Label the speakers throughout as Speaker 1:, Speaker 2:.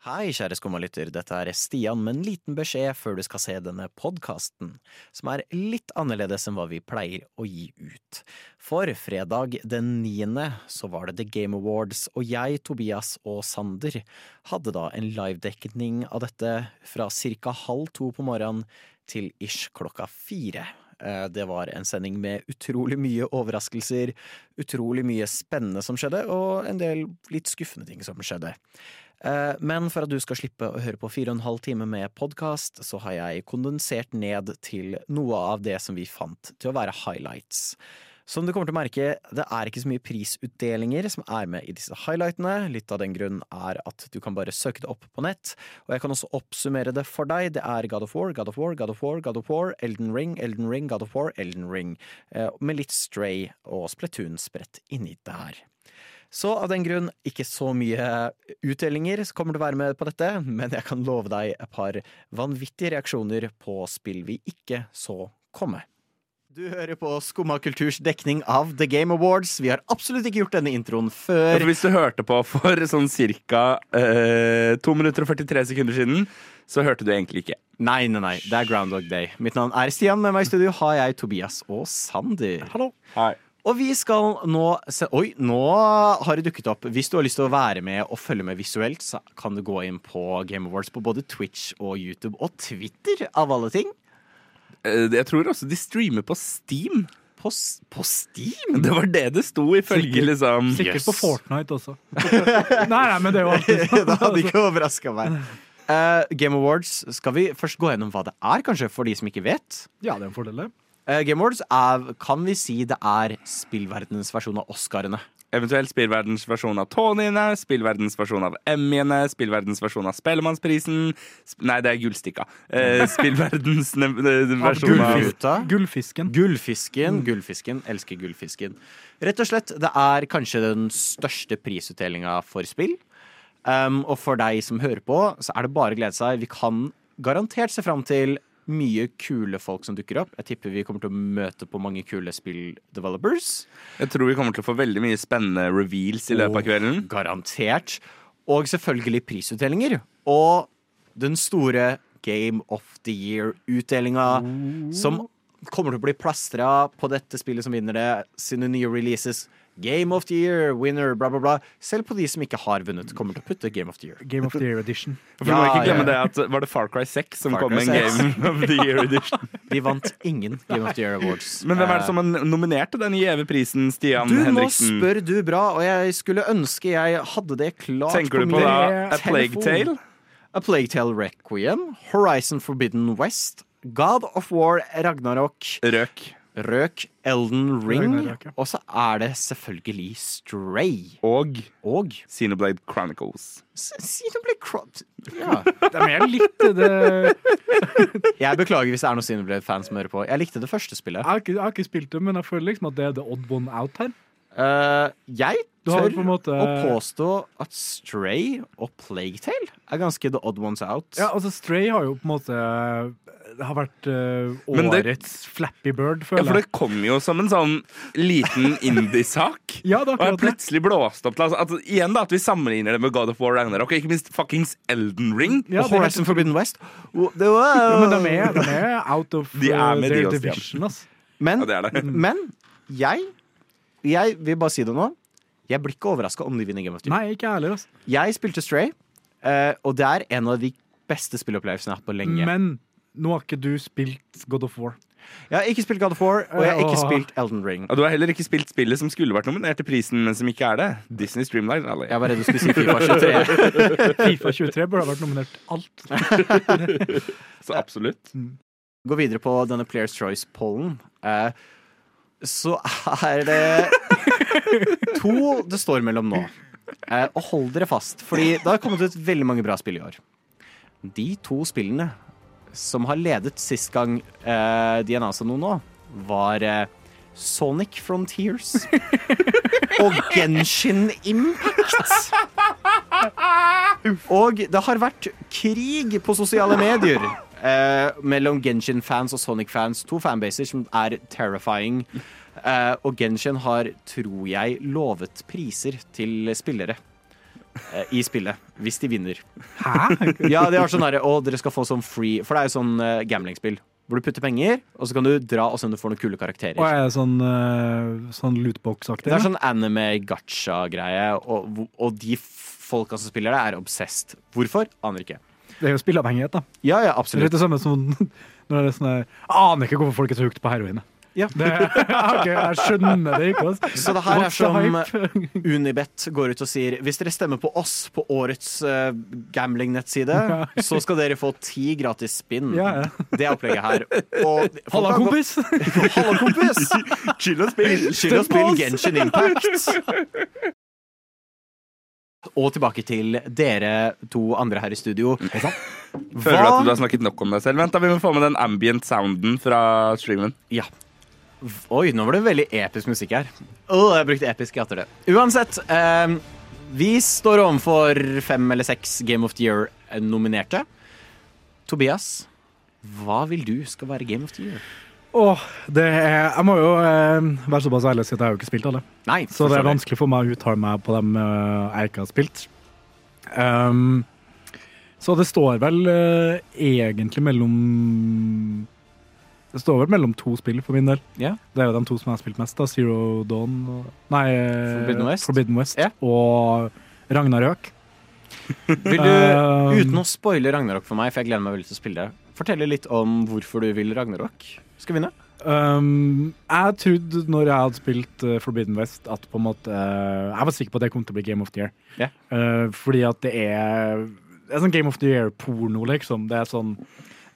Speaker 1: Hei, kjære skummalytter, dette er Stian med en liten beskjed før du skal se denne podkasten, som er litt annerledes enn hva vi pleier å gi ut. For fredag den niende så var det The Game Awards, og jeg, Tobias og Sander hadde da en livedekning av dette fra cirka halv to på morgenen til ish klokka fire. Eh, Det var en sending med utrolig mye overraskelser, utrolig mye spennende som skjedde, og en del litt skuffende ting som skjedde. Eh, Men for at du skal slippe å høre på fire og en halv time med podkast, så har jeg kondensert ned til noe av det som vi fant til å være highlights. Som du kommer til å merke, det er ikke så mye prisutdelinger som er med i disse highlightene. Litt av den grunn er at du kan bare søke det opp på nett. Og jeg kan også oppsummere det for deg. Det er God of War, God of War, God of War, God of War, Elden Ring, Elden Ring, God of War, Elden Ring. Eh, Med litt Stray og Splatoon spredt inni det her. Så av den grunn, ikke så mye utdelinger som kommer til å være med på dette, men jeg kan love deg et par vanvittige reaksjoner på spill vi ikke så komme. Du hører på Skumma kulturs dekning av The Game Awards. Vi har absolutt ikke gjort denne introen
Speaker 2: Ja, for
Speaker 1: før.
Speaker 2: Hvis du hørte på for sånn ca. Eh, 2 minutter og 43 sekunder siden, så hørte du egentlig ikke.
Speaker 1: Nei, nei, nei, det er Groundhog Day. Mitt navn er Stian, med meg i studio har jeg Tobias og Sander. Hallo.
Speaker 2: Hei.
Speaker 1: Og vi skal nå se Oi, nå har det dukket opp. Hvis du har lyst til å være med og følge med visuelt, så kan du gå inn på Game Awards på både Twitch og YouTube og Twitter, av alle ting.
Speaker 2: Eh, Jeg tror også de streamer på Steam.
Speaker 1: På, s- på Steam?
Speaker 2: Det var det det sto, ifølge liksom
Speaker 3: Sikkert
Speaker 1: Yes.
Speaker 3: på Fortnite også. nei, nei, men det er jo alltid
Speaker 1: det
Speaker 3: sånn.
Speaker 1: hadde ikke overraska meg. Eh, Game Awards, skal vi først gå gjennom hva det er, kanskje, for de som ikke vet?
Speaker 3: Ja, det er en fordel, det.
Speaker 1: Eh, Game Awards er, kan vi si, det er spillverdenens versjon av Oscarene.
Speaker 2: Eventuelt spillverdens versjon av Tonyene, spillverdens versjon av Emmy-ene, spillverdens versjon av Spellemannsprisen sp Nei, det er Gullstikka. Eh, spillverdens ne- ne- versjon av
Speaker 3: gullfisk.
Speaker 1: Gullgutta.
Speaker 3: Gullfisken.
Speaker 1: Gullfisken. Gullfisken. Elsker gullfisken. Rett og slett, det er kanskje den største prisutdelinga for spill. Um, og for deg som hører på, så er det bare å glede seg. Vi kan garantert se fram til mye kule folk som dukker opp. Jeg tipper vi kommer til å møte på mange kule spill-developers.
Speaker 2: Jeg tror vi kommer til å få veldig mye spennende reveals i løpet av kvelden.
Speaker 1: Garantert. Og selvfølgelig prisutdelinger. Og den store Game of the Year-utdelinga, som kommer til å bli plastra på dette spillet som vinner det, sine nye releases. Game of the Year, winner, bla, bla, bla. Selv på de som ikke har vunnet, kommer til å putte Game of the Year.
Speaker 3: Game of the Year Edition.
Speaker 2: For vi må
Speaker 1: Ja,
Speaker 2: ikke glemme
Speaker 1: ja.
Speaker 2: det at Var det Far Cry 6 som
Speaker 1: Far
Speaker 2: kom
Speaker 1: Cry
Speaker 2: med en
Speaker 1: 6?
Speaker 2: Game of the Year Edition?
Speaker 1: De vant ingen Game of the Year Awards.
Speaker 2: Men hvem er det som er nominert til den gjeve prisen, Stian
Speaker 1: Du, nå
Speaker 2: Henriksen?
Speaker 1: spør du bra, og jeg skulle ønske jeg hadde det klart
Speaker 2: Tenker du på
Speaker 1: min
Speaker 2: da
Speaker 3: det
Speaker 2: A Plague
Speaker 1: telefon.
Speaker 2: Tale?
Speaker 1: A Plague Tale Requiem, Horizon Forbidden West, God of War, Ragnarok,
Speaker 2: Røk.
Speaker 1: Røk, Elden Ring,
Speaker 3: Ragnarok, ja.
Speaker 1: og så er det selvfølgelig Stray.
Speaker 2: Og
Speaker 1: Og
Speaker 2: Xenoblade Chronicles.
Speaker 1: Xenoblade Crops. Ja.
Speaker 3: Det er mer litt eh, det Jeg
Speaker 1: Jeg beklager hvis det er noen Xenoblade-fans som hører på. Jeg likte det første spillet.
Speaker 3: har, ikke, jeg har ikke spilt det, men jeg føler liksom at det er the odd one out her.
Speaker 1: Eh, jeg
Speaker 3: Du har
Speaker 1: tør
Speaker 3: jo på en måte-
Speaker 1: å påstå at Stray og Plague Tale er ganske the odd ones out.
Speaker 3: Ja, altså Stray har jo på en måte Det har vært eh,
Speaker 2: Men det-
Speaker 3: årets Flappy Bird,
Speaker 2: Ja, for
Speaker 3: føler jeg.
Speaker 2: det kom jo som en sånn liten indie-sak.
Speaker 3: Ja, det
Speaker 2: Og jeg
Speaker 3: er akkurat det.
Speaker 2: plutselig blåst opp til altså, at, Igjen da, at vi sammenligner det med God of War Ragnarok, og ikke minst fuckings Elden Ring.
Speaker 3: Ja,
Speaker 1: og
Speaker 3: det er
Speaker 1: Horizon Forbidden West. Wow.
Speaker 3: Ja, men de er, de er out of
Speaker 2: De er
Speaker 3: eh,
Speaker 2: med
Speaker 3: their
Speaker 2: de også, ja.
Speaker 3: division, ass.
Speaker 1: Men
Speaker 2: Ja, det er det.
Speaker 1: Men jeg Jeg vil bare si det nå. Jeg blir ikke overraska om de vinner Game of Thrones.
Speaker 3: Nei, ikke jeg heller, ass.
Speaker 1: Jeg spilte Stray, eh, og det er en av de beste spillopplevelsene jeg har hatt på lenge.
Speaker 3: Men nå har ikke du spilt God of War.
Speaker 1: Jeg har ikke spilt God of War, og jeg har ikke
Speaker 3: Åh.
Speaker 1: spilt Elden Ring.
Speaker 2: Og du har heller ikke spilt spillet som skulle vært nominert til prisen, men som ikke er det. Disney altså. Streamline Rally.
Speaker 1: Jeg var redd du skulle si Fifa 23.
Speaker 3: Fifa 23 burde ha vært nominert til alt.
Speaker 2: Så absolutt.
Speaker 1: Gå videre på denne Players Choice-pollen. Eh, så er det to det står mellom nå. Eh, og hold dere fast, Fordi det har kommet ut veldig mange bra spill i år. De to spillene som har ledet sist gang eh, de annonsa noe nå, var eh, Sonic Frontiers og Genshin Impact. Og det har vært krig på sosiale medier eh, mellom Genshin-fans og Sonic-fans. To fanbaser som er terrifying. Eh, og Genshin har, tror jeg, lovet priser til spillere. eh, i spillet, hvis de vinner.
Speaker 3: Hæ?
Speaker 1: Ja, de har sånn herre Å, dere skal få sånn free For det er jo sånn eh, gamblingspill. Hvor du putter penger, og så kan du dra og se om du får noen kule karakterer.
Speaker 3: Og er det sånn, eh, sånn lootbox-aktig?
Speaker 1: Det er sånn anime-gacha-greie, og, hvor- og de folka som spiller det, er obsessed. Hvorfor? Aner ikke.
Speaker 3: Det er jo spilleavhengighet, da.
Speaker 1: Ja, ja,
Speaker 3: Det er
Speaker 1: absolutt.
Speaker 3: litt det samme som når det er sånn der, Aner ikke hvorfor folk er så hooked på heroin.
Speaker 1: Ja.
Speaker 3: Det, ok, jeg skjønner det ikke. Altså.
Speaker 1: Så det her er
Speaker 3: What's the
Speaker 1: som
Speaker 3: hype?
Speaker 1: Unibet går ut og sier hvis dere stemmer på oss på årets eh, gambling-nettside, så skal dere få ti gratis spinn.
Speaker 3: Ja, ja.
Speaker 1: Det er opplegget her. Og folk
Speaker 3: Halla,
Speaker 1: har gått-
Speaker 3: kompis!
Speaker 1: Halla, kompis!
Speaker 2: Chill og spill!
Speaker 1: Skyld å
Speaker 3: Stem på
Speaker 1: spille
Speaker 3: oss!
Speaker 1: Genshin Impact. Og tilbake til dere to andre her i studio.
Speaker 2: Føler du at
Speaker 1: Hva
Speaker 2: du har snakket nok om deg selv? Vent, da, vi må få med den ambient sounden fra streamen.
Speaker 1: Ja. Oi, nå var det veldig episk musikk her. Åh, jeg brukte episk etter det. Uansett, eh, vi står overfor fem eller seks Game of the Year-nominerte. Tobias, hva vil du skal være Game of the Year?
Speaker 3: Åh, det er, jeg må jo eh, være såpass ærlig og si at jeg har jo ikke spilt alle.
Speaker 1: Nei,
Speaker 3: Så det er
Speaker 1: forstår
Speaker 3: vanskelig for meg å uttale meg på dem eh, jeg ikke har spilt. Ehm, så det står vel eh, egentlig mellom Det står vel mellom to spill for min del.
Speaker 1: du. Ja.
Speaker 3: Det er jo de to som jeg har spilt mest. da, Zero Dawn og, Nei, eh,
Speaker 1: Forbidden West.
Speaker 3: Forbidden West
Speaker 1: Ja.
Speaker 3: og Ragnarøk.
Speaker 1: Vil
Speaker 3: Ehm.
Speaker 1: du, uten å spoile Ragnarok for meg, for jeg gleder meg veldig til å spille det, fortelle litt om hvorfor du vil Ragnarok skal vinne?
Speaker 3: Ehm, jeg trodde når jeg hadde spilt eh, Forbidden West, at på en måte eh, Jeg var sikker på at det kom til å bli Game of the Year.
Speaker 1: Ja.
Speaker 3: Eh, fordi at det er Det er sånn Game of the Year-porno, liksom. Det er sånn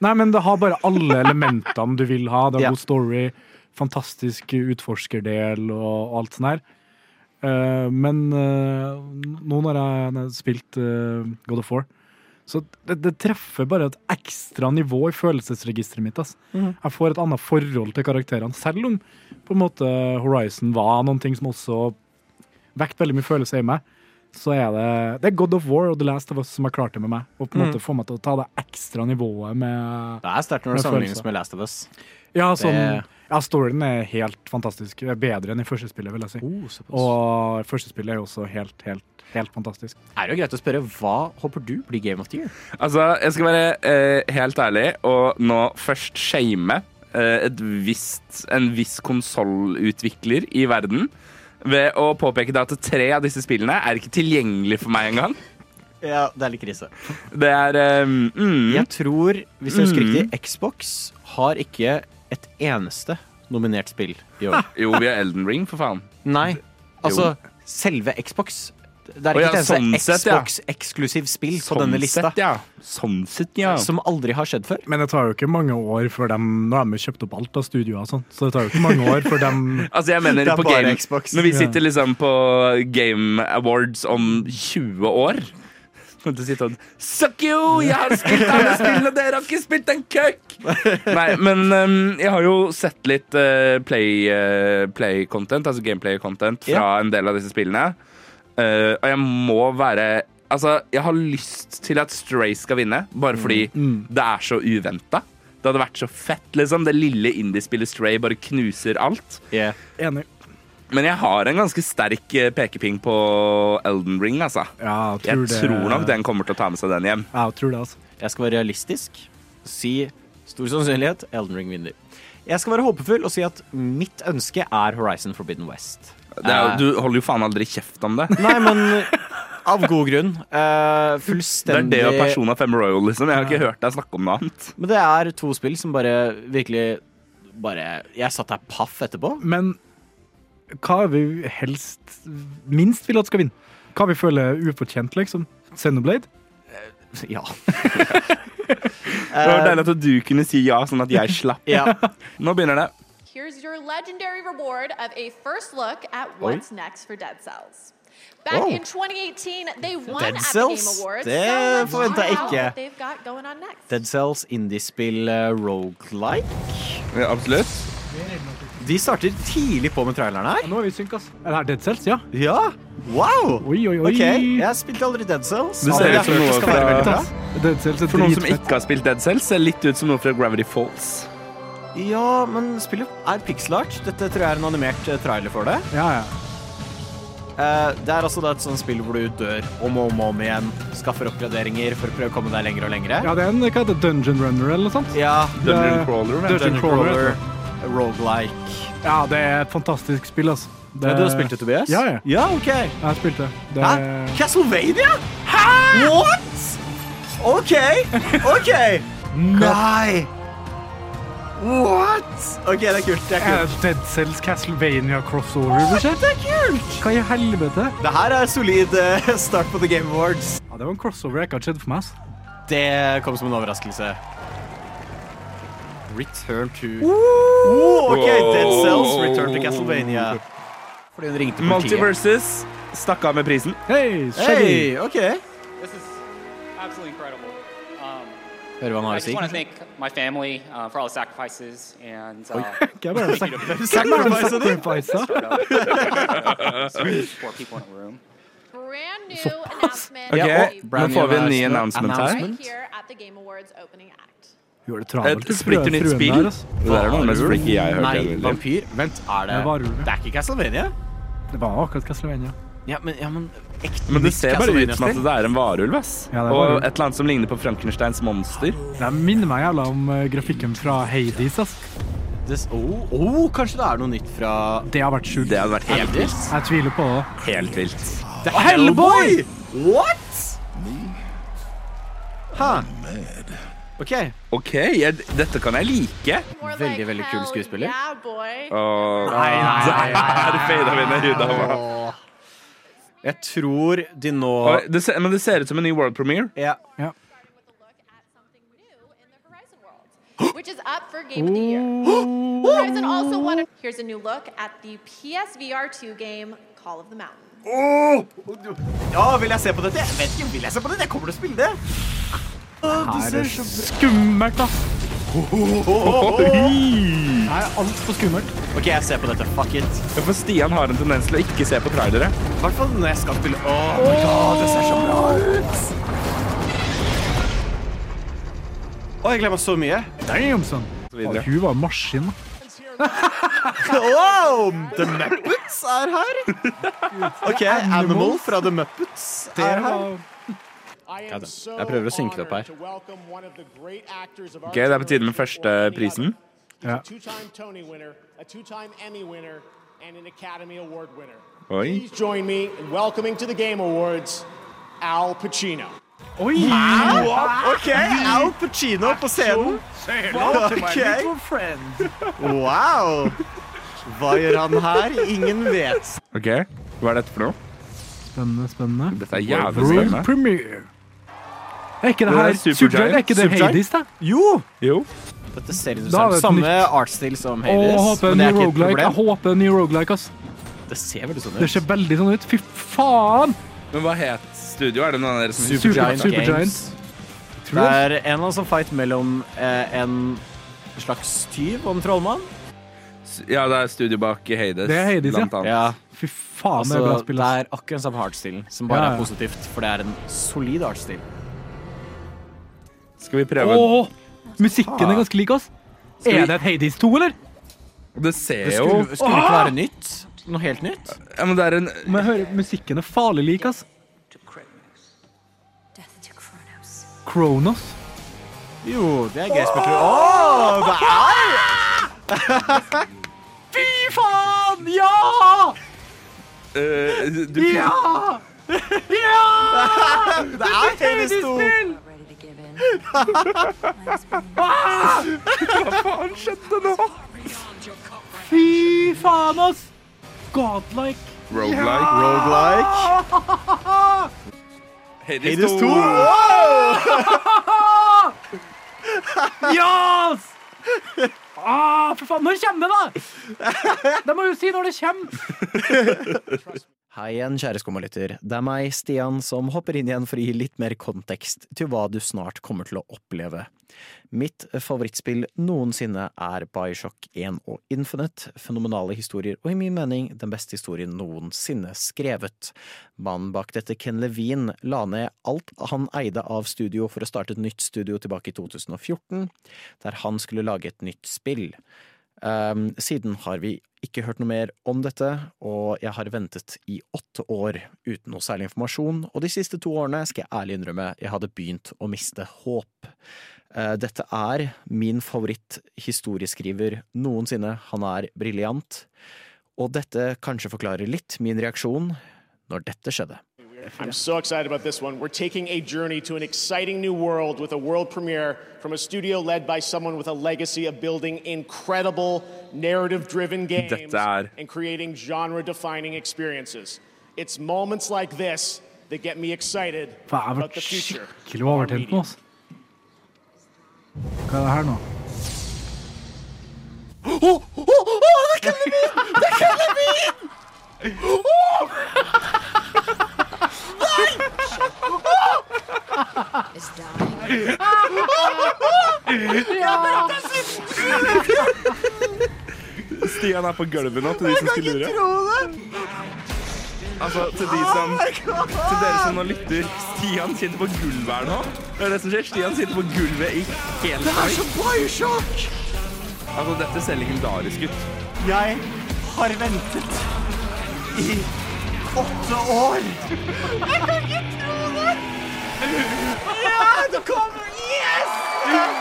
Speaker 3: Nei, men det har bare alle elementene du vil ha. Det er
Speaker 1: Ja.
Speaker 3: god story, fantastisk utforskerdel og alt sånt her. Eh, men eh, nå når jeg når jeg har spilt eh, God of War, så det, det treffer bare et ekstra nivå i følelsesregisteret mitt. ass. Jeg får et annet forhold til karakterene, selv om på en måte Horizon var noen ting som også vekket veldig mye følelser i meg. Så er det, det er God of War og The Last of Us som har klart det med meg. Og på en måte få meg til å ta det ekstra nivået med
Speaker 1: Det er sterkt når
Speaker 3: Med
Speaker 1: det sammenlignes
Speaker 3: følelse.
Speaker 1: med Last of Us.
Speaker 3: Ja, sånn,
Speaker 1: Det-
Speaker 3: ja storyen er helt fantastisk. Det er Bedre enn i første spillet, vil jeg
Speaker 1: Oh,
Speaker 3: si.
Speaker 1: Og
Speaker 3: Og første spillet er jo også helt, helt, helt fantastisk.
Speaker 1: er det jo greit å spørre hva håper du blir Game of the Year?
Speaker 2: Altså, jeg skal være eh, helt ærlig og nå først shame eh, et visst, en viss konsollutvikler i verden ved å påpeke da at tre av disse spillene er ikke tilgjengelig for meg engang.
Speaker 1: Ja, det er litt krise.
Speaker 2: Det er eh, mm,
Speaker 1: Jeg tror, hvis jeg husker
Speaker 2: Mm.
Speaker 1: riktig, Xbox har ikke et eneste nominert spill i år.
Speaker 2: Jo, vi har Elden Ring, for faen.
Speaker 1: Nei, altså selve Xbox. Det er
Speaker 2: Å
Speaker 1: ikke
Speaker 2: ja,
Speaker 1: et eneste
Speaker 2: sånn sett, ja.
Speaker 1: Xbox-eksklusiv spill på
Speaker 2: Sånn
Speaker 1: denne lista,
Speaker 2: sett, ja. Sånn sett, ja.
Speaker 1: som aldri har skjedd før.
Speaker 3: Men det tar jo ikke mange år før de Nå har de jo kjøpt opp alt av studioer og sånn, så det tar jo ikke mange år før de
Speaker 2: Altså jeg mener
Speaker 1: Det er
Speaker 2: på
Speaker 1: bare
Speaker 2: game,
Speaker 1: Xbox.
Speaker 2: Når vi
Speaker 3: Ja.
Speaker 2: sitter liksom på Game Awards om 20 år Kommer til å sitte og Suck you! Jeg har spilt alle spillene, dere har ikke spilt en køkk! Nei, men um, jeg har jo sett litt uh, play-content, altså gameplay-content, fra
Speaker 1: Ja.
Speaker 2: en del av disse spillene. Uh, og jeg må være Altså, jeg har lyst til at Stray skal vinne, bare fordi
Speaker 1: Mm.
Speaker 2: det er så uventa. Det hadde vært så fett, liksom. Det lille indiespillet Stray bare knuser alt.
Speaker 3: Enig.
Speaker 2: Men jeg har en ganske sterk eh, pekeping på Elden Ring, altså.
Speaker 3: Ja, jeg
Speaker 2: Jeg
Speaker 3: tror, det,
Speaker 2: tror nok den kommer til å ta med seg den hjem.
Speaker 3: Ja, jeg tror det, altså.
Speaker 1: Jeg skal være realistisk, si stor sannsynlighet Elden Ring vinner. Jeg skal være håpefull og si at mitt ønske er Horizon Forbidden West.
Speaker 2: Det er,
Speaker 1: Eh,
Speaker 2: jo- du holder jo faen aldri kjeft om det.
Speaker 1: Nei, men av god grunn. Eh,
Speaker 2: Det er
Speaker 1: fullstendig
Speaker 2: det og Persona 5 Royal, liksom. Jeg har ikke hørt deg snakke om noe annet.
Speaker 1: Men det er to spill som bare virkelig bare Jeg satt der paff etterpå.
Speaker 3: Men hva er vi helst minst vil at skal vinne? Hva vi føler er ufortjent, liksom? Xenoblade? Eh,
Speaker 1: Ja.
Speaker 2: Det var deilig at du kunne si ja, sånn at jeg slapp.
Speaker 1: ja.
Speaker 2: Nå begynner det.
Speaker 4: Here's your legendary reward of a first look at what's next for Dead Cells. Back
Speaker 1: Oh.
Speaker 4: in 2018, they won
Speaker 1: Dead
Speaker 4: at the
Speaker 1: Cells?
Speaker 4: Game Awards.
Speaker 1: Det
Speaker 4: so let's
Speaker 1: forventer jeg
Speaker 4: find out
Speaker 1: ikke.
Speaker 4: what they've got going on next.
Speaker 1: Dead Cells, indiespill, uh, roguelike.
Speaker 2: Ja, absolutt.
Speaker 1: De starter tidlig på med traileren her.
Speaker 3: Nå er vi i synk, ass. Er det her Dead Cells? Ja.
Speaker 1: Ja! Wow!
Speaker 3: Oi, oi, oi.
Speaker 1: Ok, jeg spilte aldri Dead Cells.
Speaker 2: Det ser
Speaker 1: Aldri
Speaker 2: ut
Speaker 1: hørt
Speaker 2: som noe
Speaker 1: det skal være
Speaker 2: fra-
Speaker 1: veldig bra.
Speaker 3: ass. Dead Cells er
Speaker 2: For noen som
Speaker 3: dritfett.
Speaker 2: ikke har spilt Dead Cells, ser litt ut som noe fra Gravity Falls.
Speaker 1: Ja, men spillet er pixel art. Dette tror jeg er en animert eh, trailer for det.
Speaker 3: Ja, ja.
Speaker 1: Eh, Det er altså da et sånt spill hvor du dør om og om, og om igjen, skaffer oppgraderinger for å prøve å komme deg lenger og lengre.
Speaker 3: Ja, det er en hva heter det, dungeon runner eller noe sånt.
Speaker 1: Ja,
Speaker 2: Dungeon
Speaker 3: Det-
Speaker 2: Crawler, vel?
Speaker 3: Dungeon
Speaker 1: Dungeon
Speaker 3: Crawler.
Speaker 1: Crawler, roguelike
Speaker 3: Ja, det er et fantastisk spill, altså. Det...
Speaker 1: Men Du har spilt det, Tobias?
Speaker 3: Ja, ja.
Speaker 1: Eh, ja ok.
Speaker 3: Jeg spilte det. det.
Speaker 1: Hæ? Castlevania? Hæ? What? OK, OK. Nei. What? Eh, OK, det er kult. Det er
Speaker 3: Er
Speaker 1: kult.
Speaker 3: det Dead Cells Castlevania crossover, budsjett?
Speaker 1: Det er kult.
Speaker 3: Hva i helvete?
Speaker 1: Det her er solid eh, start på The Game Awards.
Speaker 3: Ja, det var en crossover jeg ikke hadde sett for meg. altså. ass.
Speaker 1: Det kom som en overraskelse. Return to oh, OK, Dead Cells, Return to Castlevania. Fordi hun ringte politiet.
Speaker 2: Multiverses stakk av med prisen.
Speaker 3: Hei, Shaggy!
Speaker 1: Hei, OK.
Speaker 5: This is absolutely incredible. Um,
Speaker 1: Hører hva han
Speaker 5: I
Speaker 1: har å
Speaker 5: just
Speaker 1: si.
Speaker 5: want to thank my family uh, for all the sacrifices and uh,
Speaker 3: Hva er det jeg bare
Speaker 1: Sacrifice of the-
Speaker 3: sacrifice?
Speaker 5: four people in a room.
Speaker 4: Brand new announcement.
Speaker 2: Ok,
Speaker 1: Ja,
Speaker 4: that
Speaker 1: og
Speaker 4: we
Speaker 1: brand
Speaker 2: nå får vi en ny
Speaker 1: new
Speaker 2: announcement her.
Speaker 4: Right
Speaker 1: announcement.
Speaker 4: here at the Game Awards opening act.
Speaker 3: Du gjør det
Speaker 2: Et
Speaker 3: travelt.
Speaker 2: splitter nytt
Speaker 3: Fruen
Speaker 2: spill.
Speaker 3: der, altså. ass.
Speaker 2: Det der er noe av det mest freaky jeg har hørt.
Speaker 1: Nei,
Speaker 2: jeg vil.
Speaker 1: vampyr. Vent, er det
Speaker 3: Det var ulv.
Speaker 1: Det er ikke Castlevania?
Speaker 3: Det var akkurat Castlevania.
Speaker 1: Ja, men, ja, men ekte
Speaker 2: Men det
Speaker 1: nytt
Speaker 2: ser bare ut som at
Speaker 1: Castlevania-spill.
Speaker 2: det er en varulv. ass.
Speaker 3: Ja, det er
Speaker 2: og
Speaker 3: varulv.
Speaker 2: et eller annet som ligner på Frankensteins monster.
Speaker 3: Det minner meg jævla om eh, grafikken fra Hades. altså. ass.
Speaker 1: Det- Oh, oh, kanskje det er noe nytt fra
Speaker 3: Det har vært sjukt.
Speaker 2: Det hadde vært helt vilt.
Speaker 1: Hades?
Speaker 3: Jeg tviler på det.
Speaker 2: Helt vilt.
Speaker 1: Det er Hellboy! What? Hæ? OK.
Speaker 2: OK, jeg, dette kan jeg like.
Speaker 4: More
Speaker 1: Veldig, veldig kul
Speaker 4: hell
Speaker 1: skuespiller.
Speaker 4: Yeah, boy.
Speaker 1: Oh.
Speaker 2: Og
Speaker 1: nei,
Speaker 2: der fada vi ned huda. mamma.
Speaker 1: Åh. Jeg tror de nå
Speaker 2: Og det ser- Men det ser ut som en ny world premiere.
Speaker 1: ja.
Speaker 3: Ja.
Speaker 4: starting with a look at something new in the Horizon world, which is up for Game of the Year. Horizon also won. A- Here's a new look at the PSVR 2 game, Call of the Mountain.
Speaker 1: ja, vil jeg se på dette? Jeg vet ikke, vil jeg se på dette? Jeg kommer til å spille det. Åh, det
Speaker 3: Er
Speaker 1: ser
Speaker 3: det
Speaker 1: så bra
Speaker 3: skummelt, ass?
Speaker 2: Oi!
Speaker 3: Det er altfor skummelt.
Speaker 1: OK, jeg ser på dette. Fuck it.
Speaker 2: Ja, For Stian har en tendens til å ikke se på trailere.
Speaker 1: I hvert fall når jeg skal spille Åh, oh my god, det ser så bra ut! Å, jeg gleder meg så mye.
Speaker 3: Damn, son.
Speaker 2: Så videre.
Speaker 3: Å, Hun var en maskin.
Speaker 1: Wow, The Muppets er her! OK, Animal fra The Muppets er her.
Speaker 6: Jeg
Speaker 1: jeg prøver å synke det opp her.
Speaker 6: Ok,
Speaker 2: Ok, Det er på tide med første prisen.
Speaker 3: Ja.
Speaker 2: Oi.
Speaker 6: Please join me in welcoming to the Game Awards Al Pacino.
Speaker 3: Oi!
Speaker 1: OK, Al Pacino på scenen. Ok, Wow! Hva gjør han her? Ingen vet.
Speaker 2: OK, hva er dette for noe?
Speaker 3: Spennende, spennende.
Speaker 2: Dette er jævlig
Speaker 3: World
Speaker 2: spennende.
Speaker 3: premiere. Er ikke det
Speaker 2: Det er
Speaker 3: her
Speaker 2: Supergiant.
Speaker 3: Supergiant? Er ikke det
Speaker 2: Supergiant.
Speaker 3: Hades, da?
Speaker 1: Jo!
Speaker 2: Jo.
Speaker 1: Dette ser
Speaker 3: Da
Speaker 1: interessant
Speaker 3: er det
Speaker 1: ut.
Speaker 3: et
Speaker 1: Samme
Speaker 3: nytt-
Speaker 1: artstil som
Speaker 3: Å, jeg
Speaker 1: Hades.
Speaker 3: håper
Speaker 1: Men det
Speaker 3: New
Speaker 1: er ikke et
Speaker 3: Roguelike. Jeg
Speaker 1: problem.
Speaker 3: håper New Roguelike, ass.
Speaker 1: Det ser veldig sånn
Speaker 3: Det
Speaker 1: ut.
Speaker 3: ser veldig sånn ut. Fy faen!
Speaker 2: Men hva het studio? Er det noen av dere som
Speaker 3: Super- Supergiant Games. Tror
Speaker 1: Det
Speaker 3: du det?
Speaker 1: er en eller annen sånn fight mellom eh, en slags tyv og en trollmann.
Speaker 2: Ja, det er studio bak Hades.
Speaker 3: Det er Hades, ja.
Speaker 2: blant annet.
Speaker 3: Fy faen,
Speaker 1: altså,
Speaker 3: det er bra
Speaker 1: det
Speaker 3: spill. ass.
Speaker 1: er akkurat samme hardstilen, som bare
Speaker 3: Ja, ja.
Speaker 1: er positivt, for det er en solid artstil.
Speaker 2: Skal vi prøve?
Speaker 3: Åh, musikken er ganske lik oss.
Speaker 2: vi-
Speaker 3: Er det et Hades 2, eller?
Speaker 2: Det ser
Speaker 1: Det
Speaker 2: jo
Speaker 1: skulle, skulle ikke være nytt. Noe helt nytt.
Speaker 2: ja, men det er en
Speaker 3: Men jeg hører, musikken er farlig lik, ass.
Speaker 7: Death to Kronos.
Speaker 3: Kronos.
Speaker 1: Jo, det er gøy spekulert. Åh, det er Ah!
Speaker 3: Fy faen, ja!
Speaker 2: eh, du,
Speaker 3: Ja! Ja!
Speaker 1: Det er Hades 2!
Speaker 7: Not ready to give in. Mine's been
Speaker 3: Fy faen, ass! Godlike.
Speaker 2: Roguelike.
Speaker 1: Roguelike.
Speaker 2: Hades,
Speaker 1: Hades
Speaker 2: 2.
Speaker 1: 2.
Speaker 3: Ja! ass! Ah, for faen, når kommer det, da? Det må jo si når det kommer.
Speaker 1: Hei igjen, kjære skummalytter. Det er meg, Stian, som hopper inn igjen for å gi litt mer kontekst til hva du snart kommer til å oppleve. Mitt favorittspill noensinne er Bioshock 1 og Infinite. Fenomenale historier, og i min mening den beste historien noensinne skrevet. Mannen bak dette, Ken Levine, la ned alt han eide av studio for å starte et nytt studio tilbake i 2014, der han skulle lage et nytt spill. Um, siden har vi ikke hørt noe mer om dette, og jeg har ventet i åtte år uten noe særlig informasjon, og de siste to årene skal jeg ærlig innrømme jeg hadde begynt å miste håp. Eh, Dette er min favoritt-historieskriver noensinne. Han er briljant. Og dette kanskje forklarer litt min reaksjon når dette skjedde.
Speaker 6: I'm so excited about this one. We're taking a journey to an exciting new world with a world premiere from a studio led by someone with a legacy of building incredible narrative driven games
Speaker 2: er-
Speaker 6: and creating genre defining experiences. It's moments like this that get me excited
Speaker 3: Faen, jeg
Speaker 6: about
Speaker 3: ble
Speaker 6: the future.
Speaker 3: skikkelig overtent nå, altså. Hva er det her nå?
Speaker 7: Is dying.
Speaker 2: Stian er på gulvet nå, til de som skulle lure. Altså, til de som Til dere som nå lytter. Stian sitter på gulvet her nå. Det er det som skjer. Stian sitter på gulvet i hele Det er så Bioshock! Altså, dette ser legendarisk ut.
Speaker 8: Jeg har ventet i åtte år. Jeg kan ikke tro det! Ja, det kommer! Yes!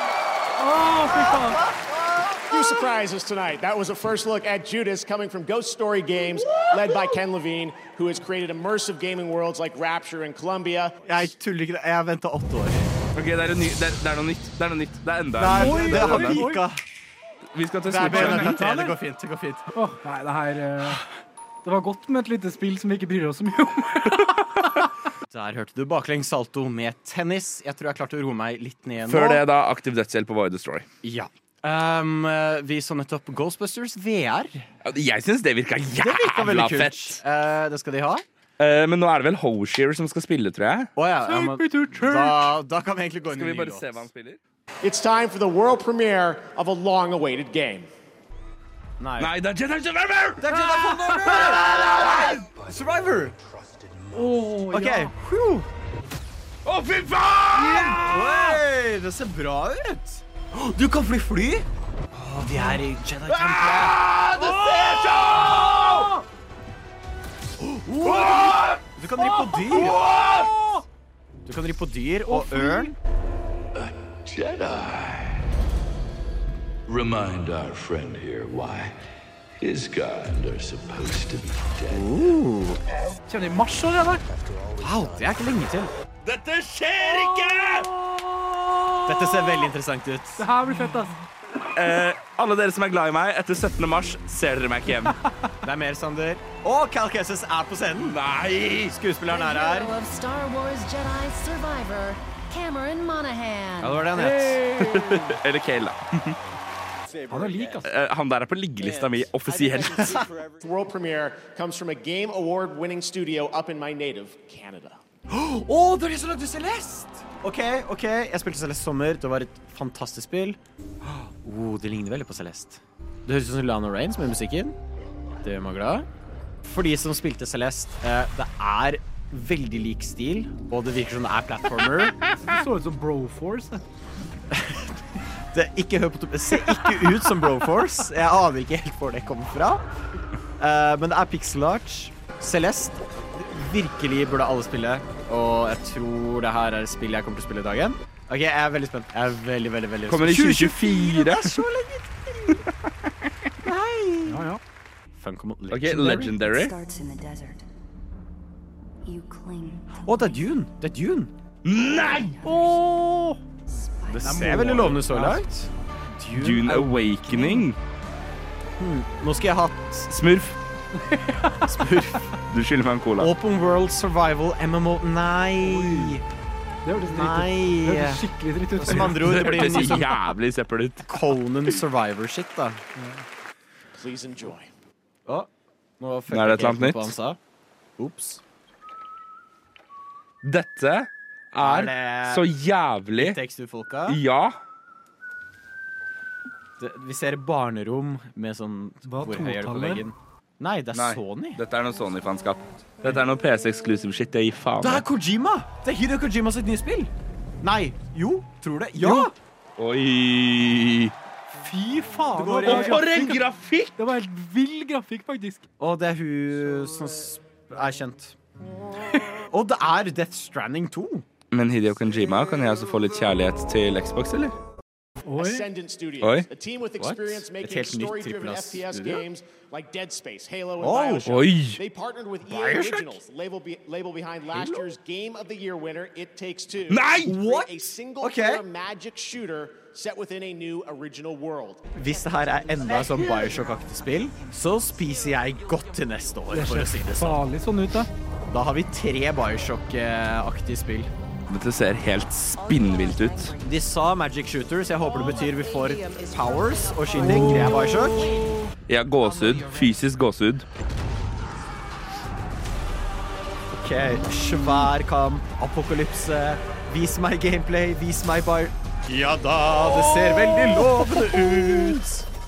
Speaker 6: Few surprises tonight. That was a first look at Judas coming from Ghost Story Games, led by Ken Levine, who has created immersive gaming worlds like Rapture and Columbia.
Speaker 8: Jeg tuller ikke. Jeg har venta åtte år.
Speaker 2: Ok, det er, en ny, det, er, det er noe nytt. Det er noe nytt. Det er enda
Speaker 8: Nei,
Speaker 2: en.
Speaker 8: det, det har vi ikke.
Speaker 2: Vi skal til
Speaker 8: Nei, men
Speaker 2: Switch.
Speaker 8: vent, vent, Det går fint. Det går fint.
Speaker 3: Åh, nei, det her eh, Det var godt med et lite spill som vi ikke bryr oss så mye om.
Speaker 1: Der hørte du baklengs salto med tennis. Jeg tror jeg klarte å roe meg litt ned nå.
Speaker 2: Før det, da. Aktiv dødshjelp på Void Destroy.
Speaker 1: Ja. Um, eh, vi så nettopp Ghostbusters VR.
Speaker 2: Jeg syns det virka
Speaker 1: virka
Speaker 2: jævla
Speaker 1: veldig kult.
Speaker 2: fett.
Speaker 1: Eh, det skal de ha.
Speaker 2: Eh, men nå er det vel Hoshier som skal spille, tror jeg.
Speaker 1: Å ja, ja, men,
Speaker 3: Take me to church.
Speaker 1: da, da kan vi egentlig gå inn
Speaker 2: Skal
Speaker 1: i
Speaker 2: vi
Speaker 1: en ny
Speaker 2: bare
Speaker 1: låt.
Speaker 2: se hva han spiller?
Speaker 6: It's time for the world premiere of a long awaited game.
Speaker 1: Nei.
Speaker 2: Nei, det er Jedi Survivor!
Speaker 1: Det er Jedi Fallen Order! Survivor!
Speaker 3: Åh,
Speaker 1: OK.
Speaker 3: ja.
Speaker 1: Whew.
Speaker 2: Å, fy faen!
Speaker 1: Oi, det ser bra ut. Du kan fly fly. Å, de er i Jedi Temple.
Speaker 2: Ah, det ser sånn!
Speaker 1: Du kan ri på dyr. Du kan ri på dyr og ørn.
Speaker 9: Jedi. Remind our friend here why his kind are supposed to be dead.
Speaker 3: Kjenner i mars allerede.
Speaker 1: Wow, det er ikke lenge til.
Speaker 2: Dette skjer ikke!
Speaker 1: Dette ser veldig interessant ut.
Speaker 3: Det her blir fett, ass.
Speaker 2: Eh, alle dere som er glad i meg, etter 17. mars ser dere meg ikke hjem.
Speaker 1: Det er mer, Sander. Og Cal Kessis er på scenen.
Speaker 2: Nei!
Speaker 1: Skuespilleren er her.
Speaker 7: Hero of Star Wars Jedi Survivor, Cameron Monaghan.
Speaker 1: Ja, det var det han het.
Speaker 2: Eller Kale, da.
Speaker 3: Han er lik, ass.
Speaker 2: Eh, han der er på liggelista mi offisielt.
Speaker 6: The world premiere comes from a game award winning studio up in my native Canada.
Speaker 1: Å, det er de som lagde Celeste! OK, ok, jeg spilte Celeste sommer. Det var et fantastisk spill. Oh, det ligner veldig på Celeste. Det høres ut som Lana Raines med musikken. Det gjør meg glad. For de som spilte Celeste, eh, det er veldig lik stil, og det virker som det er platformer.
Speaker 3: Det så ut som Broforce. det.
Speaker 1: Det, ikke hør på to- det ser ikke ut som Broforce. Jeg aner ikke helt hvor det kommer fra. Eh, men det er pixel art. Celeste. Virkelig burde alle spille. Og jeg tror det her er et spill jeg kommer til å spille i dag igjen. Ok, Jeg er veldig spent. Jeg er veldig, veldig, veldig
Speaker 2: Kommer i
Speaker 1: spent.
Speaker 2: 2024.
Speaker 3: Ja, ja.
Speaker 1: Funcom
Speaker 2: OK,
Speaker 1: Legendary.
Speaker 2: Legendary.
Speaker 7: Starts in the desert. You cling to
Speaker 1: Å, det er Dune. Det er Dune.
Speaker 7: spice.
Speaker 1: Det ser veldig lovende ut så langt.
Speaker 2: Dune Awakening.
Speaker 1: Nå skal jeg ha hatt
Speaker 2: Smurf. Du skylder meg en cola.
Speaker 1: Open World Survival MMO Nei.
Speaker 3: Det hørtes dritt ut. Det
Speaker 1: Nei.
Speaker 3: hørtes skikkelig dritt ut.
Speaker 1: Som andre ord, det blir
Speaker 2: hørtes
Speaker 1: noe sånn
Speaker 2: jævlig søppel ut.
Speaker 1: Conan Survivor-shit, da.
Speaker 6: Please enjoy.
Speaker 1: Å, nå følte
Speaker 2: Nå er
Speaker 1: jeg ikke
Speaker 2: det et eller annet
Speaker 1: helt på hva han
Speaker 2: nytt.
Speaker 1: sa. Ops.
Speaker 2: Dette
Speaker 1: Er
Speaker 2: er
Speaker 1: det-
Speaker 2: så jævlig
Speaker 1: Takes Two-folka.
Speaker 2: Ja.
Speaker 1: Det- Vi ser barnerom med sånn
Speaker 3: Hva er
Speaker 1: Hvor høy er det på
Speaker 3: totallet?
Speaker 1: veggen? Nei, det er Sony.
Speaker 2: Dette er noe Sony-fanskap. Dette er noe PC-exclusive shit. Jeg gir faen.
Speaker 1: Det er Kojima! Det er Hideo Kojima sitt nye spill. Nei. Jo. Tror det. Ja!
Speaker 2: Oi!
Speaker 3: Fy faen!
Speaker 1: går
Speaker 3: det var
Speaker 1: i-
Speaker 2: For en
Speaker 3: grafikk.
Speaker 2: grafikk!
Speaker 3: Det var helt vill grafikk, faktisk.
Speaker 1: Og det er hun som sp- er kjent. Og det er Death Stranding 2.
Speaker 2: Men Hideo Konjima, kan jeg også få litt kjærlighet til Xbox, eller?
Speaker 3: Oi.
Speaker 6: Ascendant Studios,
Speaker 2: Oi.
Speaker 6: a team with experience
Speaker 1: Et
Speaker 6: making
Speaker 1: helt nytt
Speaker 6: story-driven
Speaker 1: AAA
Speaker 6: FPS
Speaker 1: studio?
Speaker 6: games like Dead Space, Halo, and
Speaker 1: Oh.
Speaker 6: Bioshock.
Speaker 2: Oi.
Speaker 6: They partnered with EA
Speaker 1: Bioshock?
Speaker 6: Originals, label, be, label behind last year's Game of the Year winner, It Takes Two.
Speaker 2: Nei!
Speaker 6: to create
Speaker 1: What?
Speaker 6: A single
Speaker 1: Okay.
Speaker 6: player magic shooter set within a new original world.
Speaker 1: Hvis det her er enda et sånn Bioshock-aktig spill, så spiser jeg godt til neste år, for å si det sånn.
Speaker 3: Farlig sånn ut, da.
Speaker 1: Da har vi tre Bioshock-aktige spill.
Speaker 2: Dette ser helt spinnvilt ut.
Speaker 1: De sa Magic Shooters. Jeg håper det betyr vi
Speaker 3: Oh,
Speaker 1: får Powers og Shindig. Det er Bioshock.
Speaker 2: Jeg har gåsehud. Fysisk gåsehud.
Speaker 1: Ok, Svær kamp, apokalypse. Vis meg gameplay, vis meg bar... Ja da, det ser veldig lovende ut.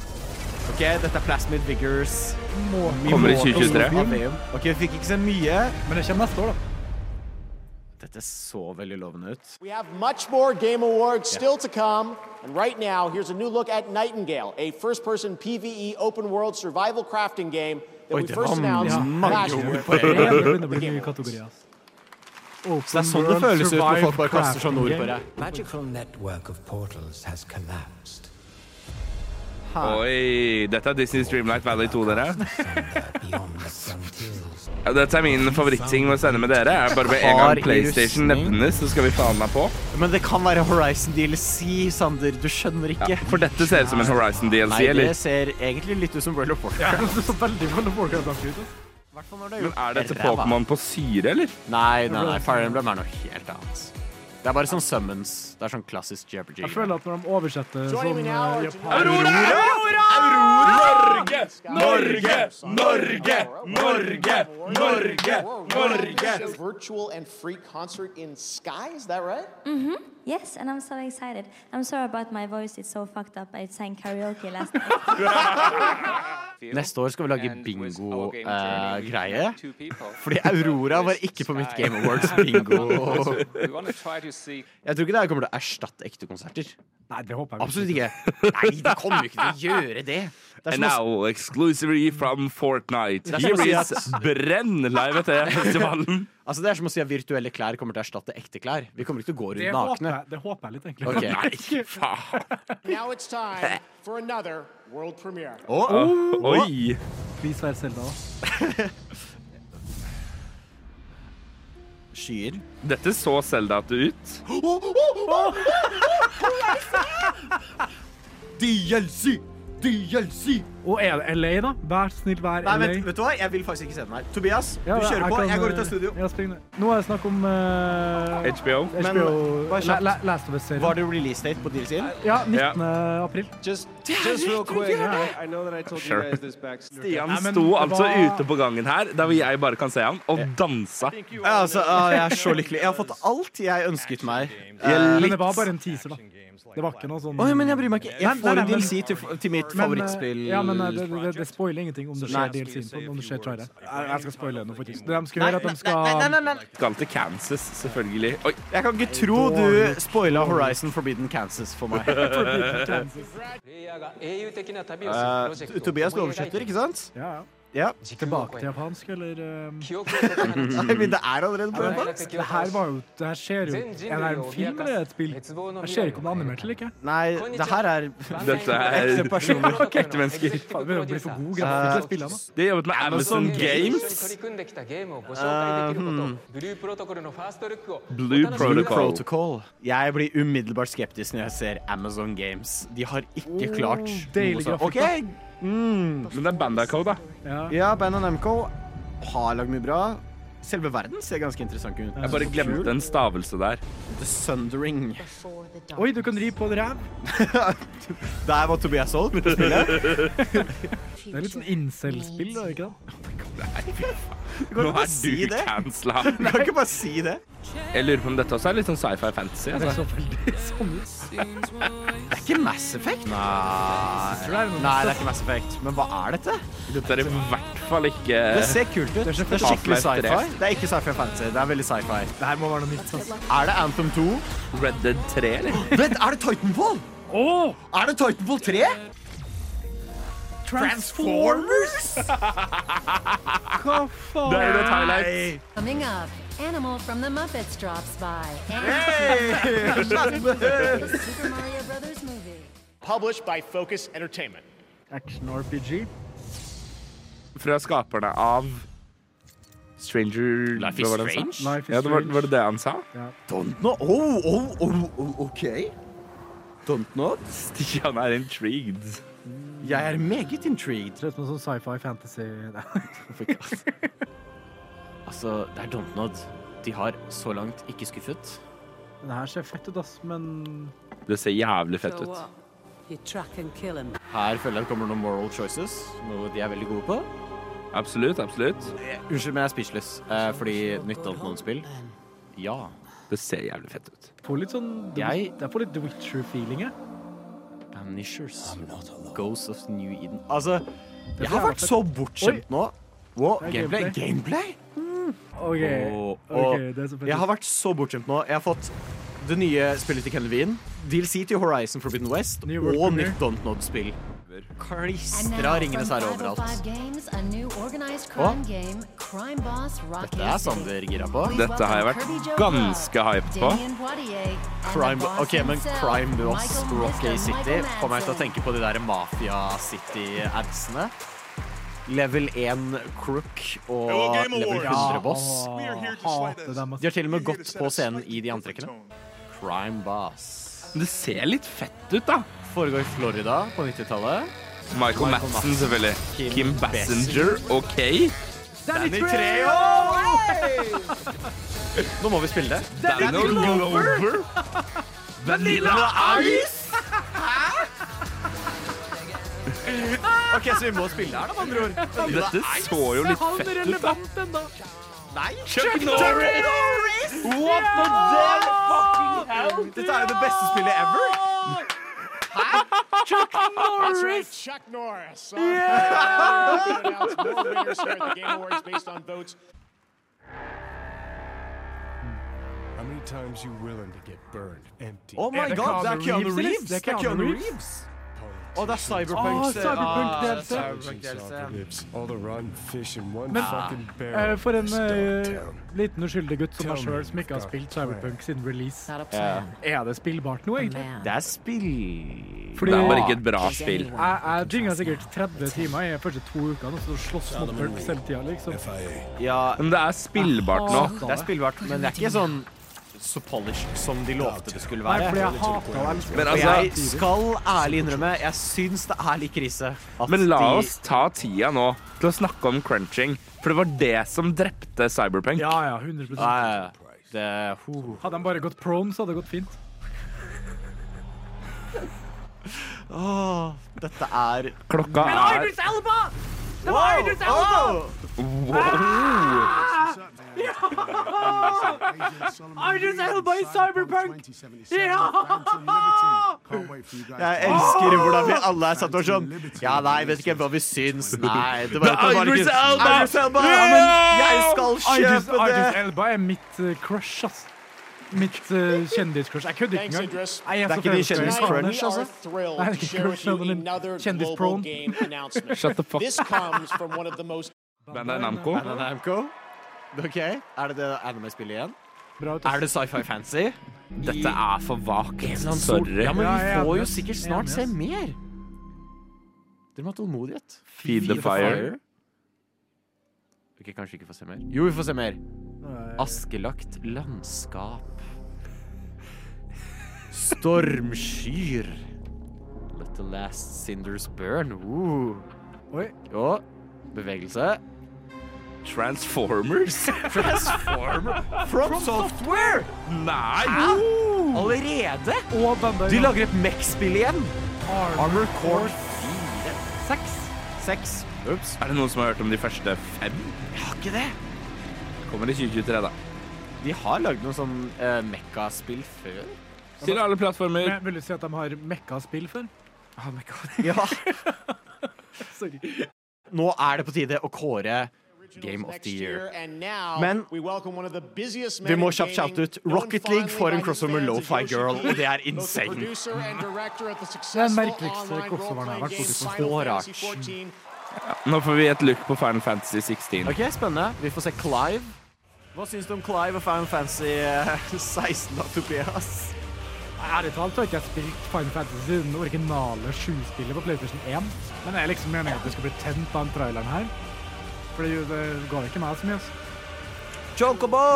Speaker 1: OK, dette er Plasmid Vigors. Vi
Speaker 2: Kommer i
Speaker 1: må komme
Speaker 2: 2023.
Speaker 1: oss av VM. OK, vi fikk ikke så mye.
Speaker 3: Men det kommer neste år, da.
Speaker 1: Dette så veldig lovende ut.
Speaker 6: We have much more Game Awards still to come. And right now, here's a new look at Nightingale, a first person PvE E open world survival crafting game that
Speaker 1: Oi,
Speaker 6: we
Speaker 1: det
Speaker 6: first
Speaker 1: var
Speaker 6: announced
Speaker 1: mange
Speaker 6: last
Speaker 1: ord
Speaker 6: year.
Speaker 1: på en
Speaker 3: Det begynner å bli mye kategorier, ass.
Speaker 1: Så det er sånn det føles ut når folk bare kaster sånne ord på deg.
Speaker 10: Magical network of portals has collapsed.
Speaker 2: Oi, dette er Disney Streamlight Valley 2, dere.
Speaker 10: Somewhere beyond the frontiers.
Speaker 2: Ja, Dette er min favorittting å sende med dere. Er bare med en
Speaker 1: Har i
Speaker 2: gang PlayStation
Speaker 1: rustning.
Speaker 2: nevnes, så skal vi faen meg på.
Speaker 1: Men det kan være Horizon DLC, Sander. Du skjønner ikke.
Speaker 2: Ja, for dette ser ut som en Horizon DLC,
Speaker 1: Nei, det
Speaker 2: eller?
Speaker 1: ser egentlig litt ut som World of Warcraft.
Speaker 3: Det så veldig World of Warcraft-aktig ut. ass.
Speaker 1: Hvertfall når det er
Speaker 2: Men
Speaker 1: gjort
Speaker 2: er dette
Speaker 1: ræva.
Speaker 2: Pokémon på syre, eller?
Speaker 1: Nei, nei, nei, Fire Emblem er noe helt annet. Det er bare sånn summons. Det er sånn klassisk JRPG.
Speaker 3: Jeg føler at når de oversetter sånn eh,
Speaker 6: Joining me now are
Speaker 3: japan-
Speaker 6: Aurora!
Speaker 2: Norge!
Speaker 6: Virtual and free concert in Sky, is that right?
Speaker 7: Yes, and I'm so excited. I'm sorry about my voice, it's so fucked up. I sang karaoke last night.
Speaker 1: Neste år skal vi lage bingo-greie.
Speaker 5: Fordi
Speaker 1: Aurora var ikke på mitt Game Awards bingo. Jeg tror ikke det her kommer til å erstatte ekte konserter.
Speaker 3: Nei, det håper jeg
Speaker 1: Absolutt ikke. Nei, de kommer jo ikke til å gjøre det. Det er
Speaker 2: And
Speaker 1: som å,
Speaker 2: now, exclusively from Fortnite.
Speaker 1: er som å
Speaker 2: Here
Speaker 1: si
Speaker 2: is Brenn live etter festivalen.
Speaker 1: altså, det er som å si at virtuelle klær kommer til å erstatte ekte klær. Vi kommer ikke til å gå
Speaker 3: Det
Speaker 1: rundt
Speaker 3: håper,
Speaker 1: nakne.
Speaker 3: jeg, det håper jeg litt, egentlig.
Speaker 1: Ok.
Speaker 2: Nei, faen.
Speaker 6: Now it's time for another world premiere.
Speaker 1: Oh.
Speaker 2: Oi.
Speaker 3: Please vær Selda. ass.
Speaker 1: Skyer.
Speaker 2: Dette så Zelda-ete ut.
Speaker 1: DLC! DLC!
Speaker 3: Og er det LA, da? Vær snill, vær
Speaker 1: Nei,
Speaker 3: LA.
Speaker 1: vent, vet du hva? Jeg vil faktisk ikke se den her. Tobias, du
Speaker 3: Ja,
Speaker 1: kjører på.
Speaker 3: kan,
Speaker 1: Jeg går ut
Speaker 3: eh,
Speaker 1: av studio.
Speaker 3: ja, spring ned. Nå er det snakk om eh,
Speaker 2: HBO.
Speaker 3: HBO
Speaker 1: bare
Speaker 3: la,
Speaker 1: kjapt.
Speaker 3: la, Last of Us-serien.
Speaker 1: Var det release date på DLC-en?
Speaker 3: Ja, 19. april.
Speaker 11: Just, just real quick, I, I know that I told
Speaker 2: Sure.
Speaker 11: you guys this back.
Speaker 2: Stian
Speaker 3: men
Speaker 2: sto
Speaker 3: det
Speaker 2: altså
Speaker 3: var-
Speaker 2: ute på gangen her, der hvor jeg bare kan se han, og dansa.
Speaker 1: Ja, altså, ah, jeg er så lykkelig. Jeg har fått alt jeg ønsket meg.
Speaker 3: Men
Speaker 1: Eh,
Speaker 3: det var bare en teaser, da. Det var ikke noe sånn
Speaker 1: Oi, men jeg bryr meg ikke. Jeg
Speaker 3: Nei, nei,
Speaker 1: får
Speaker 3: nei,
Speaker 1: en
Speaker 3: men-
Speaker 1: DLC til, til mitt
Speaker 3: Men, eh,
Speaker 1: favorittspill.
Speaker 3: Ja, men eh, det, det, det spoiler ingenting om det
Speaker 1: Nei.
Speaker 3: skjer DLC-en på den, om det skjer traileren. Jeg jeg skal spoile noe, faktisk. Det de skal gjøre, er at
Speaker 1: Nei,
Speaker 3: de
Speaker 1: nei, nei,
Speaker 3: skal
Speaker 1: nei, nei.
Speaker 2: Skal til Kansas, selvfølgelig. Oi,
Speaker 1: Jeg kan ikke tro du spoila Horizon Forbidden Kansas for meg. Eh, T- Tobias, du oversetter, ikke sant?
Speaker 3: Ja, ja.
Speaker 1: Ja.
Speaker 3: Tilbake til japansk, eller eh,
Speaker 1: Nei, men det er allerede på japansk.
Speaker 3: Det her var jo Det her skjer jo Er det en film eller et spill? Jeg ser ikke om det er animert eller ikke.
Speaker 1: Nei, det her er
Speaker 2: dette er
Speaker 1: ekte personer.
Speaker 2: ekte mennesker.
Speaker 3: Faen, det begynner å bli for god grafikk til spillene.
Speaker 2: De har jobbet med Amazon Games. Blue Protocol.
Speaker 1: Protocol. Jeg blir umiddelbart skeptisk når jeg ser Amazon Games. De har ikke klart
Speaker 3: deilig
Speaker 1: noe sånt. Ok,
Speaker 3: grafikk,
Speaker 2: Men det er Bandico, da.
Speaker 3: Ja.
Speaker 1: Ja, Band Namco har lagd mye bra. Selve verden ser ganske interessant ut.
Speaker 2: Jeg bare glemte en stavelse der.
Speaker 1: The Sundering.
Speaker 3: Oi, du kan ri på en ræv.
Speaker 1: Der var Tobias solgt. Det
Speaker 3: Det er litt sånn incel-spill, er det ikke det?
Speaker 2: Nå
Speaker 1: bare
Speaker 2: er
Speaker 1: si
Speaker 2: du
Speaker 1: det.
Speaker 2: cancela.
Speaker 1: kan ikke bare si det.
Speaker 2: Jeg lurer på om dette også er litt sånn sci-fi fantasy.
Speaker 3: Det
Speaker 2: Altså.
Speaker 3: så veldig sånn ut.
Speaker 1: Det er ikke Mass Effect. Nei.
Speaker 3: Tror det er noe-
Speaker 1: Nei, det er ikke Mass Effect. Men hva er dette?
Speaker 2: Dette er i hvert fall ikke
Speaker 1: Det ser kult ut. Det er skikkelig
Speaker 2: Half-Life
Speaker 1: sci-fi. Det er ikke sci-fi fantasy. Det er veldig sci-fi.
Speaker 3: Det her må være noe nytt. ass.
Speaker 1: Er det Anthem 2?
Speaker 2: Red Dead 3, eller?
Speaker 1: Vent, er det Titanfall?
Speaker 8: Er det Titanfall 3?
Speaker 3: Hva faen?
Speaker 2: Det er jo et highlight.
Speaker 7: Coming up, Animal from the Muppets drops by. And
Speaker 6: Hey!
Speaker 7: the Super Mario Brothers movie.
Speaker 6: Published by Focus Entertainment.
Speaker 3: Action RPG.
Speaker 2: Fra skaperne av Stranger
Speaker 8: Life is
Speaker 2: hva var det han sa?
Speaker 8: Strange? Life is
Speaker 2: Ja, det var,
Speaker 8: Strange.
Speaker 2: var det det han sa?
Speaker 8: Don't know. Oh, oh, oh, oh, OK. Don't know.
Speaker 2: Stian er intrigued.
Speaker 8: Jeg er meget intrigued.
Speaker 3: Ser ut som en sånn sci-fi fantasy.
Speaker 1: Altså, det er Dontnod. De har så langt ikke skuffet.
Speaker 3: Den her ser fett ut, ass, men
Speaker 2: Det ser jævlig fett ut.
Speaker 12: You track and kill him.
Speaker 1: Her føler jeg det kommer noen moral choices, noe de er veldig gode på.
Speaker 2: Absolutt, absolutt.
Speaker 1: Unnskyld, men jeg er speechless, eh, fordi nytt Dontnod-spill Ja.
Speaker 2: Det ser jævlig fett ut.
Speaker 3: får litt sånn
Speaker 1: Jeg-
Speaker 3: Jeg får litt The Witcher-feeling, jeg.
Speaker 1: Amnishers. Ghosts of New Eden. Altså, jeg har
Speaker 3: jævla
Speaker 1: vært så
Speaker 3: fett.
Speaker 1: bortskjemt nå. Wow,
Speaker 3: Det er
Speaker 1: gameplay.
Speaker 3: gameplay.
Speaker 1: Gameplay?
Speaker 3: OK.
Speaker 1: Og, og
Speaker 3: Ok, det er så fett.
Speaker 1: jeg har vært så bortskjemt nå. Jeg har fått det nye spillet til Ken Levine, DLC til Horizon Forbidden West
Speaker 3: Ny World
Speaker 1: og
Speaker 3: Premiere.
Speaker 1: nytt Dontnod-spill.
Speaker 7: And now
Speaker 1: Klistra ringene
Speaker 7: from
Speaker 1: seg
Speaker 7: 505
Speaker 1: overalt.
Speaker 7: Games, a new organized crime game, Crime Boss Rocky
Speaker 1: Dette er Sander gira på.
Speaker 2: Dette har jeg vært ganske hyped på.
Speaker 7: Damien Poitier and the
Speaker 1: Crime,
Speaker 7: boss
Speaker 1: ok, men
Speaker 7: himself,
Speaker 1: Crime Boss
Speaker 7: Michael
Speaker 1: Rocky
Speaker 7: Mr.
Speaker 1: City
Speaker 7: Michael
Speaker 1: får meg til å
Speaker 7: Madsen.
Speaker 1: tenke på de der Mafia City-adsene. Level 1 Crook og level 100 Boss.
Speaker 3: Oh,
Speaker 1: De har til og med gått på scenen i de antrekkene. Crime Boss.
Speaker 2: Det ser litt fett ut, da.
Speaker 1: Foregår i Florida på 90-tallet.
Speaker 2: Michael Madsen, selvfølgelig. Kim Bassinger, OK?
Speaker 1: Danny Trejo! Nå må vi spille det.
Speaker 2: Danny Glover? Vanilla Ice?
Speaker 1: OK, så vi må spille her, da, med andre ord.
Speaker 2: Dette så jo litt fett ut, da.
Speaker 1: Nei,
Speaker 2: Chuck Norris!
Speaker 1: What the damn fucking hell? Dette er jo det beste spillet ever.
Speaker 6: That's right, Chuck Norris. Uh, they announced more winners here at the Game Awards based on votes.
Speaker 13: How many times you willing to get burned empty?
Speaker 8: Oh my
Speaker 13: And-
Speaker 8: god, det er Keanu Reeves!
Speaker 3: Det er Keanu Reeves.
Speaker 8: Å, det er Cyberpunk.
Speaker 3: Åh, Cyberpunk
Speaker 8: Ah,
Speaker 3: DLC.
Speaker 8: Cyberpunk DLC.
Speaker 13: Apocalypse, All the rotten fish in one
Speaker 3: Men
Speaker 13: fucking barrel.
Speaker 3: eh, for en
Speaker 13: Stone
Speaker 3: eh,
Speaker 13: Town.
Speaker 3: liten uskyldig gutt som
Speaker 13: Tell
Speaker 3: meg
Speaker 13: me
Speaker 3: sjøl, som ikke har
Speaker 13: about
Speaker 3: spilt
Speaker 13: the plan.
Speaker 3: Cyberpunk siden release.
Speaker 13: plan.
Speaker 3: Er det spillbart nå,
Speaker 7: Oh,
Speaker 3: egentlig?
Speaker 1: Det er spill...
Speaker 3: Fordi-
Speaker 2: Det er bare ikke et bra spill.
Speaker 3: Jeg, jeg dynga sikkert 30 timer i de første to ukene, og så slåss mot folk hele tida, liksom.
Speaker 1: Ja,
Speaker 2: Men det er spillbart nå.
Speaker 1: Det er spillbart, men det er ikke sånn så polished som de lovte det skulle være.
Speaker 3: Nei, fordi jeg hater og elsker
Speaker 2: Men
Speaker 1: Og
Speaker 2: altså-
Speaker 1: jeg skal ærlig innrømme, jeg syns det er litt krise. at
Speaker 2: Men la
Speaker 1: de-
Speaker 2: oss ta tida nå til å snakke om crunching, for det var det som drepte Cyberpunk.
Speaker 3: Ja, ja,
Speaker 1: Ja,
Speaker 3: 100
Speaker 1: ja, ja. Eh, Det, ho.
Speaker 3: Hadde de bare gått prone, så hadde det gått fint.
Speaker 1: Åh, dette er
Speaker 2: Klokka er
Speaker 12: Elba!
Speaker 1: Det var Idris Elba!
Speaker 2: wow.
Speaker 12: Idris Elba i Cyberpunk!
Speaker 1: Jeg elsker hvordan vi alle er satt over sånn Ja, nei, vet ikke hva vi syns. Nei, det var, det var
Speaker 2: Idris
Speaker 1: ikke
Speaker 2: Elba!
Speaker 1: Idris Elba! Ja, men jeg skal
Speaker 3: Idris,
Speaker 1: kjøpe
Speaker 3: Idris
Speaker 1: det!
Speaker 3: Elba er mitt eh, crush, ass. Mitt eh, kjendiscrush. Jeg kødder
Speaker 6: Thanks,
Speaker 3: ikke engang.
Speaker 6: Idris.
Speaker 3: Jeg
Speaker 1: Det er
Speaker 3: så
Speaker 1: ikke din
Speaker 3: forelsket i
Speaker 1: kjendis
Speaker 3: Anders,
Speaker 6: Tonight, we
Speaker 3: altså.
Speaker 6: are thrilled
Speaker 3: Nei,
Speaker 6: to
Speaker 3: ikke
Speaker 6: share with
Speaker 3: crush,
Speaker 6: you
Speaker 3: men
Speaker 6: another
Speaker 3: kjendis
Speaker 6: global
Speaker 3: prone.
Speaker 6: game announcement.
Speaker 2: Shut the fuck
Speaker 6: This comes from one of the most
Speaker 2: Bandai Namco.
Speaker 1: Banana Namco. OK, er det det anime-spillet igjen?
Speaker 3: Bra ut, ass.
Speaker 1: Er det sci-fi fancy?
Speaker 2: Dette er for vagt.
Speaker 1: Sånn sol-
Speaker 2: Sorry.
Speaker 1: Ja, men vi
Speaker 3: Ja, jeg er
Speaker 1: får
Speaker 3: enig,
Speaker 1: jo
Speaker 3: ass.
Speaker 1: sikkert
Speaker 3: Jeg er
Speaker 1: snart
Speaker 3: enig,
Speaker 1: se
Speaker 3: ass.
Speaker 1: mer. Dere må ha tålmodighet.
Speaker 2: Feed the fire.
Speaker 1: Ok, kanskje vi ikke får se mer. Jo, vi får se mer.
Speaker 3: Nei.
Speaker 1: Askelagt landskap. Stormskyer. Let the last cinders burn. Woo.
Speaker 3: Oi.
Speaker 1: Jo, bevegelse.
Speaker 2: Transformers?
Speaker 1: Transformer from software!
Speaker 2: Nei!
Speaker 1: Hæ? Allerede?
Speaker 3: Og Van Damme.
Speaker 1: De lager et Mech-spill igjen.
Speaker 3: Arm.
Speaker 1: Armor Core 4. Seks. Seks. Ups.
Speaker 2: Er det noen som har hørt om de første fem?
Speaker 1: Jeg har ikke det.
Speaker 2: Kommer i 2023, da.
Speaker 1: De har lagd noe sånn uh, Mekka-spill før.
Speaker 2: Til alle plattformer.
Speaker 3: Men Eh, Vil du si at de har mekka spill før?
Speaker 1: Oh my god. Ja.
Speaker 3: Sorry.
Speaker 1: Nå er det på tide å kåre
Speaker 14: Game of the Year.
Speaker 6: And now
Speaker 1: Men-
Speaker 6: we welcome one of the busiest men
Speaker 1: Vi må
Speaker 6: in
Speaker 1: kjapt
Speaker 6: gaming,
Speaker 1: shoute ut
Speaker 6: known
Speaker 1: Rocket League
Speaker 6: fondly
Speaker 1: får
Speaker 6: by
Speaker 1: en
Speaker 6: his
Speaker 1: crossover
Speaker 6: fans as
Speaker 1: Lo-Fi
Speaker 6: Yoshi
Speaker 1: Girl,
Speaker 6: P,
Speaker 1: og det er
Speaker 6: both the
Speaker 1: insane.
Speaker 6: producer and director of the
Speaker 3: Den
Speaker 6: successful
Speaker 3: merkeligste
Speaker 6: online
Speaker 3: crossoveren jeg har vært
Speaker 6: role-playing
Speaker 3: borti.
Speaker 6: game Final Fantasy
Speaker 1: Så rart.
Speaker 6: 14.
Speaker 2: Nå får vi et look på Final Fantasy 16.
Speaker 1: Ok, spennende. Vi får se Clive. Hva syns du om Clive og Final Fantasy eh, 16 av Tobias?
Speaker 3: Ærlig talt har ikke jeg spilt Final Fantasy siden det originale sju-spillet på PlayStation 1. Men jeg er liksom meningen at jeg skulle bli tent av den traileren her. For det, det ga ikke meg så mye. altså. ass.
Speaker 1: Chocobo!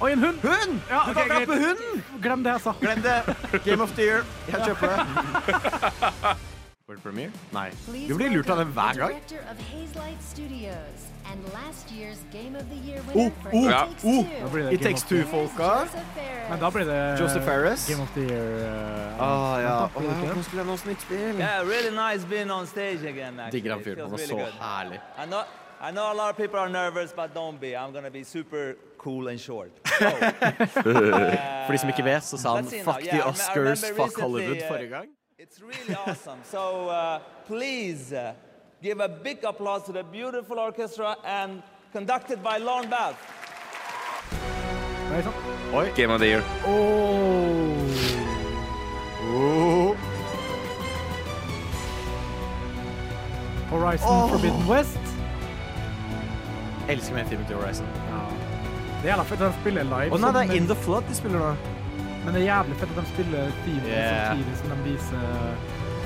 Speaker 3: Oi, en hund!
Speaker 1: Hund!
Speaker 3: Ja,
Speaker 1: Du
Speaker 3: ok,
Speaker 1: kan drepe
Speaker 3: greit.
Speaker 1: hunden!
Speaker 3: Glem det altså. jeg sa.
Speaker 1: Glem det. Game of the year. Jeg kjøper det. World premiere? Nei.
Speaker 7: Please
Speaker 1: Du blir lurt av den
Speaker 7: welcome
Speaker 1: hver
Speaker 7: the
Speaker 1: gang.
Speaker 7: Director of Hazelight Studios and last year's Game of the Year
Speaker 1: Oh,
Speaker 7: winner for
Speaker 1: oh, ja. oh. It
Speaker 3: Da blir det
Speaker 7: It Takes Two.
Speaker 3: Game
Speaker 1: Takes
Speaker 3: of the-
Speaker 1: Two-folka.
Speaker 14: Ah,
Speaker 3: Men da blir det
Speaker 1: Joseph Ferris?
Speaker 3: Game of the Year. eh,
Speaker 1: Ah, ja.
Speaker 3: da blir det ikke det.
Speaker 1: skulle jeg nå snitt spill?
Speaker 10: Yeah, really nice being on stage again. Actually.
Speaker 1: Digger han
Speaker 10: It
Speaker 1: fyren. Han
Speaker 10: feels
Speaker 1: er
Speaker 10: really
Speaker 1: så
Speaker 10: good.
Speaker 1: herlig.
Speaker 10: I know, I know a lot of people are nervous, but don't be. I'm gonna be super cool and short.
Speaker 14: For de som ikke vet, så sa han
Speaker 10: Let's see now.
Speaker 14: fuck
Speaker 10: Yeah, I
Speaker 14: the
Speaker 10: rem- I
Speaker 14: Oscars,
Speaker 10: remember
Speaker 14: fuck
Speaker 10: recently,
Speaker 14: Hollywood
Speaker 10: uh,
Speaker 14: forrige gang.
Speaker 10: It's really awesome. So uh, please uh, give a big applause to the beautiful orchestra and conducted by Lorne Bath.
Speaker 3: Nei, sant?
Speaker 2: Game of the year.
Speaker 1: Oh.
Speaker 3: Horizon Forbidden West.
Speaker 14: Elsker meg en time til Horizon.
Speaker 3: Det er jævla fett at de spiller live.
Speaker 14: Å nei, det
Speaker 3: sånn,
Speaker 14: er
Speaker 3: men-
Speaker 14: In the Flood de spiller nå.
Speaker 3: Men det er jævlig fett at de spiller teamet
Speaker 14: Yeah.
Speaker 3: samtidig som de viser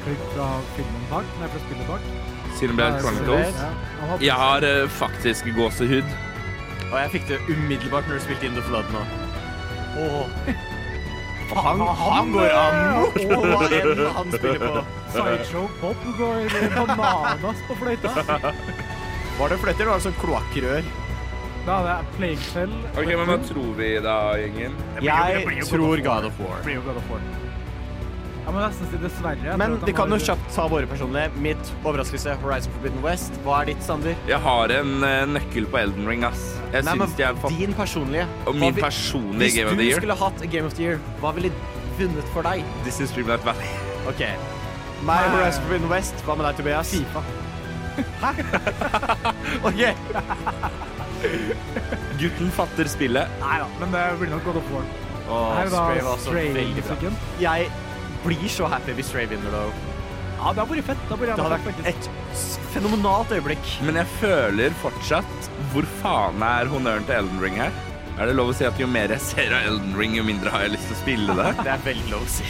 Speaker 3: klipp fra filmen bak. Nei, fra spillet bak.
Speaker 2: Cineblade Chronicles. Jeg har eh, faktisk gåsehud.
Speaker 14: Og jeg fikk det umiddelbart når du spilte In the Flood nå.
Speaker 1: Han, han går amok på hva enn han spiller på.
Speaker 3: Sideshow Bob går bananas på fløyta.
Speaker 1: Var det fløtter eller var det sånn kloakkrør?
Speaker 3: Da hadde jeg Plague Cell.
Speaker 2: Ok, men Hva tror vi da, gjengen?
Speaker 1: Jeg tror God of War.
Speaker 3: Blir jo God of War. Jeg må nesten si dessverre. Jeg
Speaker 1: Men
Speaker 3: tror at de
Speaker 1: vi kan
Speaker 3: har-
Speaker 1: jo kjapt ta våre personlige. Mitt overraskelse, Horizon Forbidden West. Hva er ditt, Sander?
Speaker 2: Jeg har en eh, nøkkel på Elden Ring, ass. Jeg
Speaker 1: Nei, men
Speaker 2: syns de er fa-
Speaker 1: Din personlige.
Speaker 2: Og
Speaker 1: Hva
Speaker 2: min
Speaker 1: vil-
Speaker 2: personlige Game of
Speaker 1: Hvis
Speaker 2: the
Speaker 1: du
Speaker 2: Year.
Speaker 1: skulle hatt Game of the Year, hva ville vunnet for deg?
Speaker 2: This is Dreamlight Valley.
Speaker 1: OK. Meg, Horizon Forbidden West. Hva med deg, Tobias?
Speaker 3: FIFA.
Speaker 1: OK.
Speaker 2: Gutten fatter spillet.
Speaker 3: Nei da, men det blir nok God of War.
Speaker 1: Åh,
Speaker 3: Her er da
Speaker 1: Stray var også
Speaker 3: Stray
Speaker 1: veldig bra.
Speaker 3: musikken.
Speaker 1: Jeg blir så happy hvis Stray vinner, though.
Speaker 3: Ja, det hadde vært fett. Da blir jeg
Speaker 1: Det hadde
Speaker 3: nok
Speaker 1: vært et s- fenomenalt øyeblikk.
Speaker 2: Men jeg føler fortsatt Hvor faen er honnøren til Elden Ring her? Er det lov å si at jo mer jeg ser av Elden Ring, jo mindre har jeg lyst til å spille det?
Speaker 1: Det er veldig lov å si.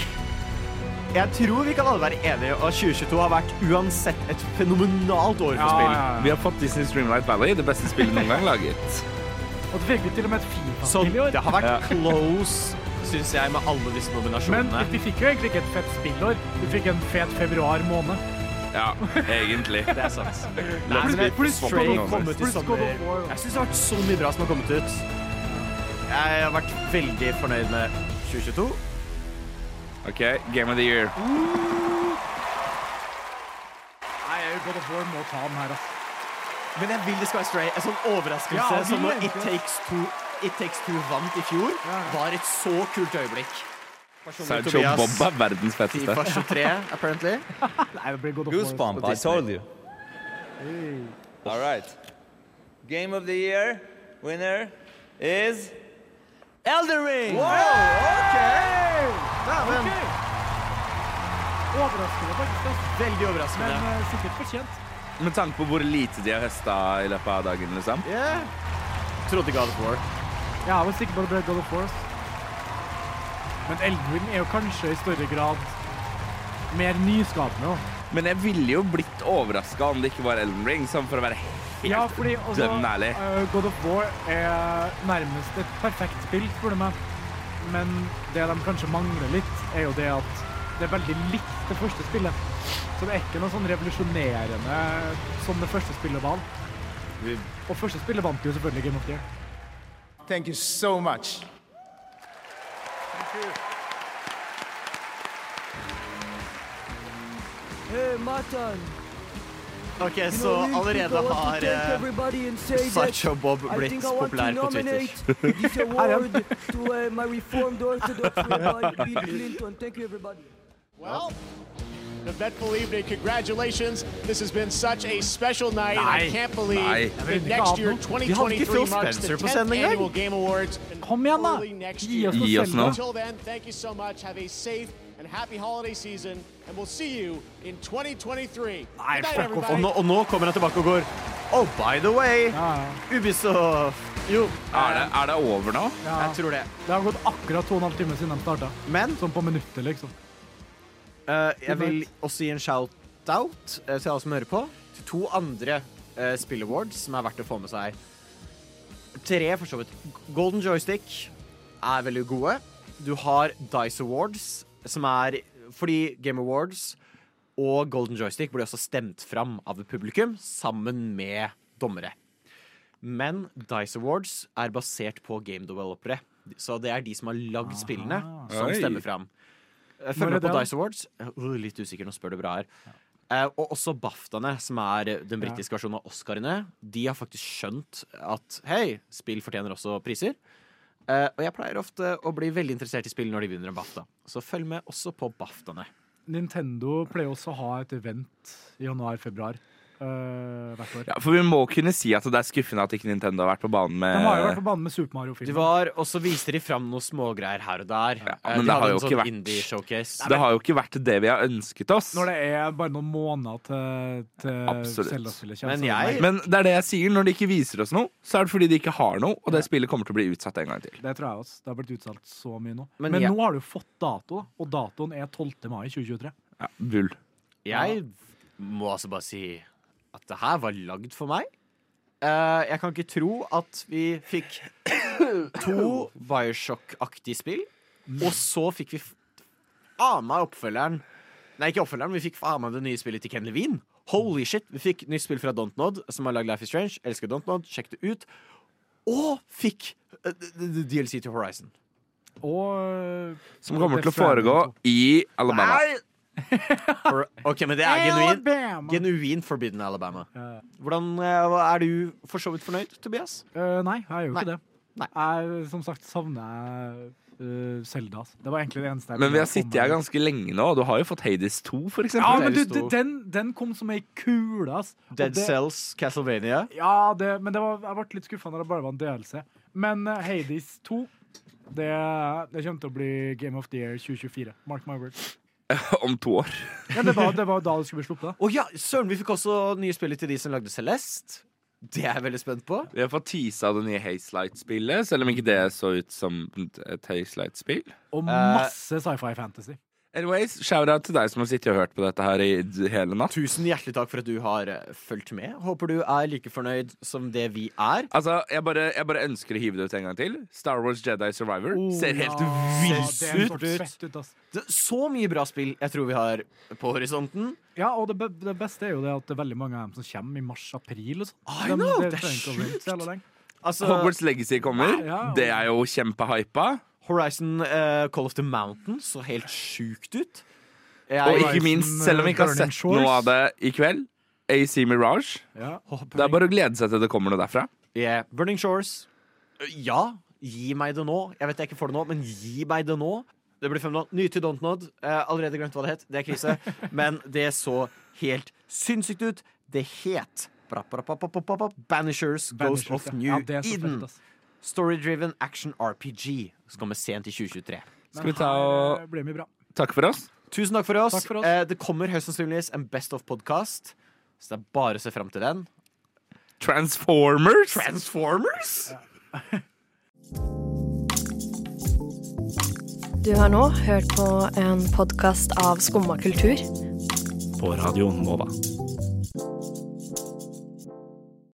Speaker 1: Jeg tror vi kan alle være enige om at 2022 har vært uansett et fenomenalt år for
Speaker 3: Ja,
Speaker 1: spill.
Speaker 3: ja, ja.
Speaker 2: Vi har fått Disney Streamlight Valley, det beste spillet noen gang laget.
Speaker 3: Og så fikk vi til og med et
Speaker 1: Så
Speaker 3: FIFA-spill i
Speaker 2: Sånn,
Speaker 3: år.
Speaker 1: det har vært close, syns jeg, med alle disse
Speaker 3: Men
Speaker 1: nominasjonene.
Speaker 3: vi fikk jo egentlig ikke et fett spillår. Vi fikk en fet februar måned.
Speaker 2: Ja, egentlig.
Speaker 1: Det er sant.
Speaker 2: La oss
Speaker 1: Nei, men
Speaker 2: bli
Speaker 1: pluss
Speaker 2: swapped
Speaker 1: Stray
Speaker 2: over.
Speaker 1: kom ut i
Speaker 3: Pluss God of
Speaker 1: sommer.
Speaker 3: War.
Speaker 1: Jeg syns det har vært så mye bra som har kommet ut. Jeg har vært veldig fornøyd med 2022.
Speaker 2: OK, Game of the Year.
Speaker 3: Nei, God of War må ta den her, ass.
Speaker 1: Men jeg vil det skal være Stray. En sånn
Speaker 3: Ja,
Speaker 1: overraskelse
Speaker 3: vi
Speaker 1: som når
Speaker 3: venter.
Speaker 1: It Takes Two It Takes Two vant i fjor, var et så kult øyeblikk. Personlig
Speaker 2: Sancho
Speaker 1: Tobias,
Speaker 2: Bob er verdens
Speaker 1: Fifa
Speaker 2: fetteste.
Speaker 1: 23, apparently.
Speaker 3: Nei, det blir God of War.
Speaker 10: Goosebump, I told you. All right. Game of the year winner is Elden Ring.
Speaker 1: Dæven.
Speaker 3: Overraskende, faktisk. ass.
Speaker 1: Veldig
Speaker 3: Men
Speaker 1: overraskende.
Speaker 3: eh, sikkert fortjent.
Speaker 2: Med tanke på hvor lite de har høsta i løpet av dagen, liksom.
Speaker 1: Yeah. Trodde God of War.
Speaker 3: Ja, Jeg var sikker på at det ble God of War. ass. Men Elden Ring er jo kanskje i større grad mer nyskapende. da.
Speaker 2: Men jeg ville jo blitt overraska om det ikke var Elden Ring, sånn for å være helt
Speaker 3: Ja, fordi
Speaker 1: altså-
Speaker 3: også,
Speaker 2: dønn ærlig.
Speaker 3: eh, God of War er nærmest et perfekt spill, spør du meg. Men det de kanskje mangler litt, er jo det at det er veldig likt det første spillet. Så det er ikke noe sånn revolusjonerende som det første spillet var.
Speaker 1: Vi-
Speaker 3: Og første spillet vant jo selvfølgelig Game of the Year.
Speaker 15: Thank you so much.
Speaker 16: Hey, Matan.
Speaker 1: OK,
Speaker 16: you
Speaker 1: så
Speaker 16: know, really
Speaker 1: allerede
Speaker 16: quick, I want
Speaker 1: har
Speaker 16: to thank
Speaker 1: eh,
Speaker 16: everybody and say
Speaker 1: Sideshow
Speaker 16: that
Speaker 1: Bob
Speaker 16: I
Speaker 1: blitt
Speaker 16: think I want to
Speaker 1: populær på Twitter.
Speaker 16: nominate this award to uh, my reformed Orthodox rabbi Bill Clinton. Thank you, everybody.
Speaker 6: Well, eventful evening. Congratulations. This has been such a special night. and I
Speaker 3: Nei.
Speaker 6: can't believe
Speaker 3: Nei.
Speaker 6: that next year,
Speaker 3: Vi hadde ikke
Speaker 6: 2023
Speaker 3: Phil
Speaker 6: marks the
Speaker 3: Spencer på
Speaker 6: 10th
Speaker 3: sending engang.
Speaker 6: annual Game Awards.
Speaker 3: Kom igjen, da! Gi oss noe
Speaker 2: Gi oss
Speaker 3: selv,
Speaker 2: noe.
Speaker 3: da.
Speaker 6: Until then, thank you so much. Have a safe and happy holiday season, and we'll see you in 2023.
Speaker 1: Nei,
Speaker 6: Good night,
Speaker 1: fuck off.
Speaker 6: everybody.
Speaker 1: Og nå, og nå kommer han tilbake og går Oh, by the way, Ubisoft Jo.
Speaker 2: Er det, er det over nå?
Speaker 3: Ja.
Speaker 1: Jeg tror det.
Speaker 3: Det har gått akkurat to og en halv time siden de starta. Sånn på minuttet, liksom.
Speaker 1: Eh, jeg
Speaker 3: Good
Speaker 1: vil
Speaker 3: night.
Speaker 1: også gi en shout-out eh, til alle som hører på, til to andre eh, Spill Awards som er verdt å få med seg. Tre, for så vidt. Golden Joystick er veldig gode. Du har Dice Awards, som er fordi Game Awards og Golden Joystick blir også stemt fram av et publikum sammen med dommere. Men Dice Awards er basert på game developere. Så det er de som har lagd spillene, som
Speaker 17: Oi.
Speaker 1: stemmer fram. Jeg
Speaker 17: Når
Speaker 1: følger
Speaker 17: er
Speaker 1: med på
Speaker 17: det, da?
Speaker 1: Dice Awards. Jeg er litt usikker, nå spør du bra her. Eh, og også BAFTAene, som er den britiske versjonen av Oscarene. De har faktisk skjønt at hei, spill fortjener også priser. Eh, og jeg pleier ofte å bli veldig interessert i spill når de vinner en BAFTA. Så følg med også på BAFTAene.
Speaker 3: Nintendo pleier også å ha et event i januar-februar eh, hvert år.
Speaker 2: Ja, for vi må kunne si at det er skuffende at ikke Nintendo har vært på banen med
Speaker 3: De har jo vært på banen med Super
Speaker 1: De
Speaker 3: Mario-filmen.
Speaker 1: var, Og så viser de fram noen smågreier her og der. Eh,
Speaker 2: men
Speaker 1: de
Speaker 2: det har
Speaker 1: hadde
Speaker 2: jo
Speaker 1: en
Speaker 2: ikke
Speaker 1: sånn
Speaker 2: vært-
Speaker 1: indie-showcase.
Speaker 2: Det har jo ikke vært det vi har ønsket oss.
Speaker 3: Når det er bare noen måneder til, til
Speaker 2: Absolutt.
Speaker 3: Zelda-spillet
Speaker 2: Men,
Speaker 3: kommer, så er det meg.
Speaker 2: det er det jeg sier. Når de ikke viser oss noe, så er det fordi de ikke har noe, og det spillet kommer til å bli utsatt en gang til.
Speaker 3: Det tror jeg også. Det har blitt utsolgt så mye nå.
Speaker 2: Men
Speaker 3: Men,
Speaker 2: jeg-
Speaker 3: nå har du fått dato, da. Og datoen er 12. mai 2023.
Speaker 2: Ja, bull.
Speaker 1: Jeg må altså bare si at det her var lagd for meg. Eh, jeg kan ikke tro at vi fikk to Bioshock-aktige spill, og så fikk vi f- faen meg oppfølgeren Nei, ikke oppfølgeren, vi fikk faen meg det nye spillet til Ken Levine. Holy shit, vi fikk nytt spill fra Dontnod, som har lagd Life is Strange. Elsker Dontnod, sjekk det ut. Og fikk eh, d- d- DLC til Horizon.
Speaker 3: Og
Speaker 2: Som kommer til å foregå i Alabama.
Speaker 1: Nei! For- OK, men det er genuin,
Speaker 3: Alabama.
Speaker 1: genuin Forbidden Alabama. Hvordan eh, Er du for så vidt fornøyd, Tobias?
Speaker 3: Eh, nei, jeg er jo
Speaker 1: Nei.
Speaker 3: ikke det. Jeg, som sagt, savner jeg Selda. det var egentlig det eneste jeg
Speaker 2: Men vi har
Speaker 3: ville
Speaker 2: sittet
Speaker 3: komme
Speaker 2: her
Speaker 3: med.
Speaker 2: ganske lenge nå, og du har jo fått Hades 2, for eksempel.
Speaker 3: Ja, men du, du, den, den kom som ei kule, ass. Og
Speaker 1: Dead
Speaker 3: det-
Speaker 1: Cells, Castlevania.
Speaker 3: Ja, det, men det var, jeg ble litt skuffa når det bare var en DLC. Men eh, Hades 2 det, det kommer til å bli Game of the Year 2024. Mark my words.
Speaker 2: Om to år.
Speaker 3: Ja, det, var, det var da det skulle bli sluppet.
Speaker 1: Å ja, søren, vi fikk også nye spillet til de som lagde Celeste. Det er jeg veldig spent på.
Speaker 2: Vi har fått teasa det nye Haze Light-spillet, selv om ikke det så ut som et Haze Light-spill.
Speaker 3: Og
Speaker 1: Eh.
Speaker 3: masse sci-fi fantasy.
Speaker 2: Anyways, shout-out til deg som har sittet og hørt på dette her i d- hele natt.
Speaker 1: Tusen hjertelig takk for at du har eh, fulgt med. Håper du er like fornøyd som det vi er.
Speaker 2: Altså, jeg bare, jeg bare ønsker å hive det ut en gang til. Star Wars Jedi Survivor
Speaker 1: Oh,
Speaker 2: ser helt
Speaker 3: Ser
Speaker 2: vilt
Speaker 3: helt
Speaker 2: ut.
Speaker 3: fett ut, ass.
Speaker 1: Det er så mye bra spill jeg tror vi har på horisonten.
Speaker 3: Ja, og det, be det beste er jo det at det er veldig mange av dem som kommer i mars-april. og sånn.
Speaker 1: Ah, I
Speaker 3: Dem-
Speaker 1: know,
Speaker 3: dere
Speaker 1: det er
Speaker 3: trenger ikke å vente så jævla lenge.
Speaker 1: Altså,
Speaker 2: Hogwarts Legacy kommer.
Speaker 1: Wow.
Speaker 2: Det er jo kjempehypa.
Speaker 1: Horizon eh, Call of the Mountain så helt sjukt ut. Jeg- liksom-
Speaker 2: Og ikke minst, selv om vi ikke har
Speaker 1: Burning
Speaker 2: sett
Speaker 1: Shores.
Speaker 2: noe av det i kveld, AC Mirage. Det er bare å glede seg til det kommer noe derfra.
Speaker 1: Yeah. Burning Shores. Øh, Ja, gi meg det nå. Jeg vet jeg ikke får det nå, men gi meg det nå. Det blir fem nå. Ny til Dontnod. Eh, allerede glemt hva det het. Det er krise. Men det så helt sinnssykt ut. Det het bra, bra, bra, bra, bra, bra, bra, Banishers, Ghost
Speaker 3: Banishers,
Speaker 1: of
Speaker 3: ja.
Speaker 1: New
Speaker 3: Ja, det er så fett,
Speaker 1: Eden.
Speaker 3: ass.
Speaker 1: Story-driven action RPG som kommer sent i 2023.
Speaker 2: Skal vi ta og
Speaker 3: Det eh, blir mye bra.
Speaker 2: takke for oss?
Speaker 1: Tusen takk for oss.
Speaker 3: Takk for oss.
Speaker 1: Eh, det kommer høyst sannsynligvis en Best of-podkast, så det er bare å se fram til den.
Speaker 2: Transformers?
Speaker 1: Transformers?
Speaker 7: Du har nå hørt på en podkast av Skumma kultur.
Speaker 18: På radioen Nova.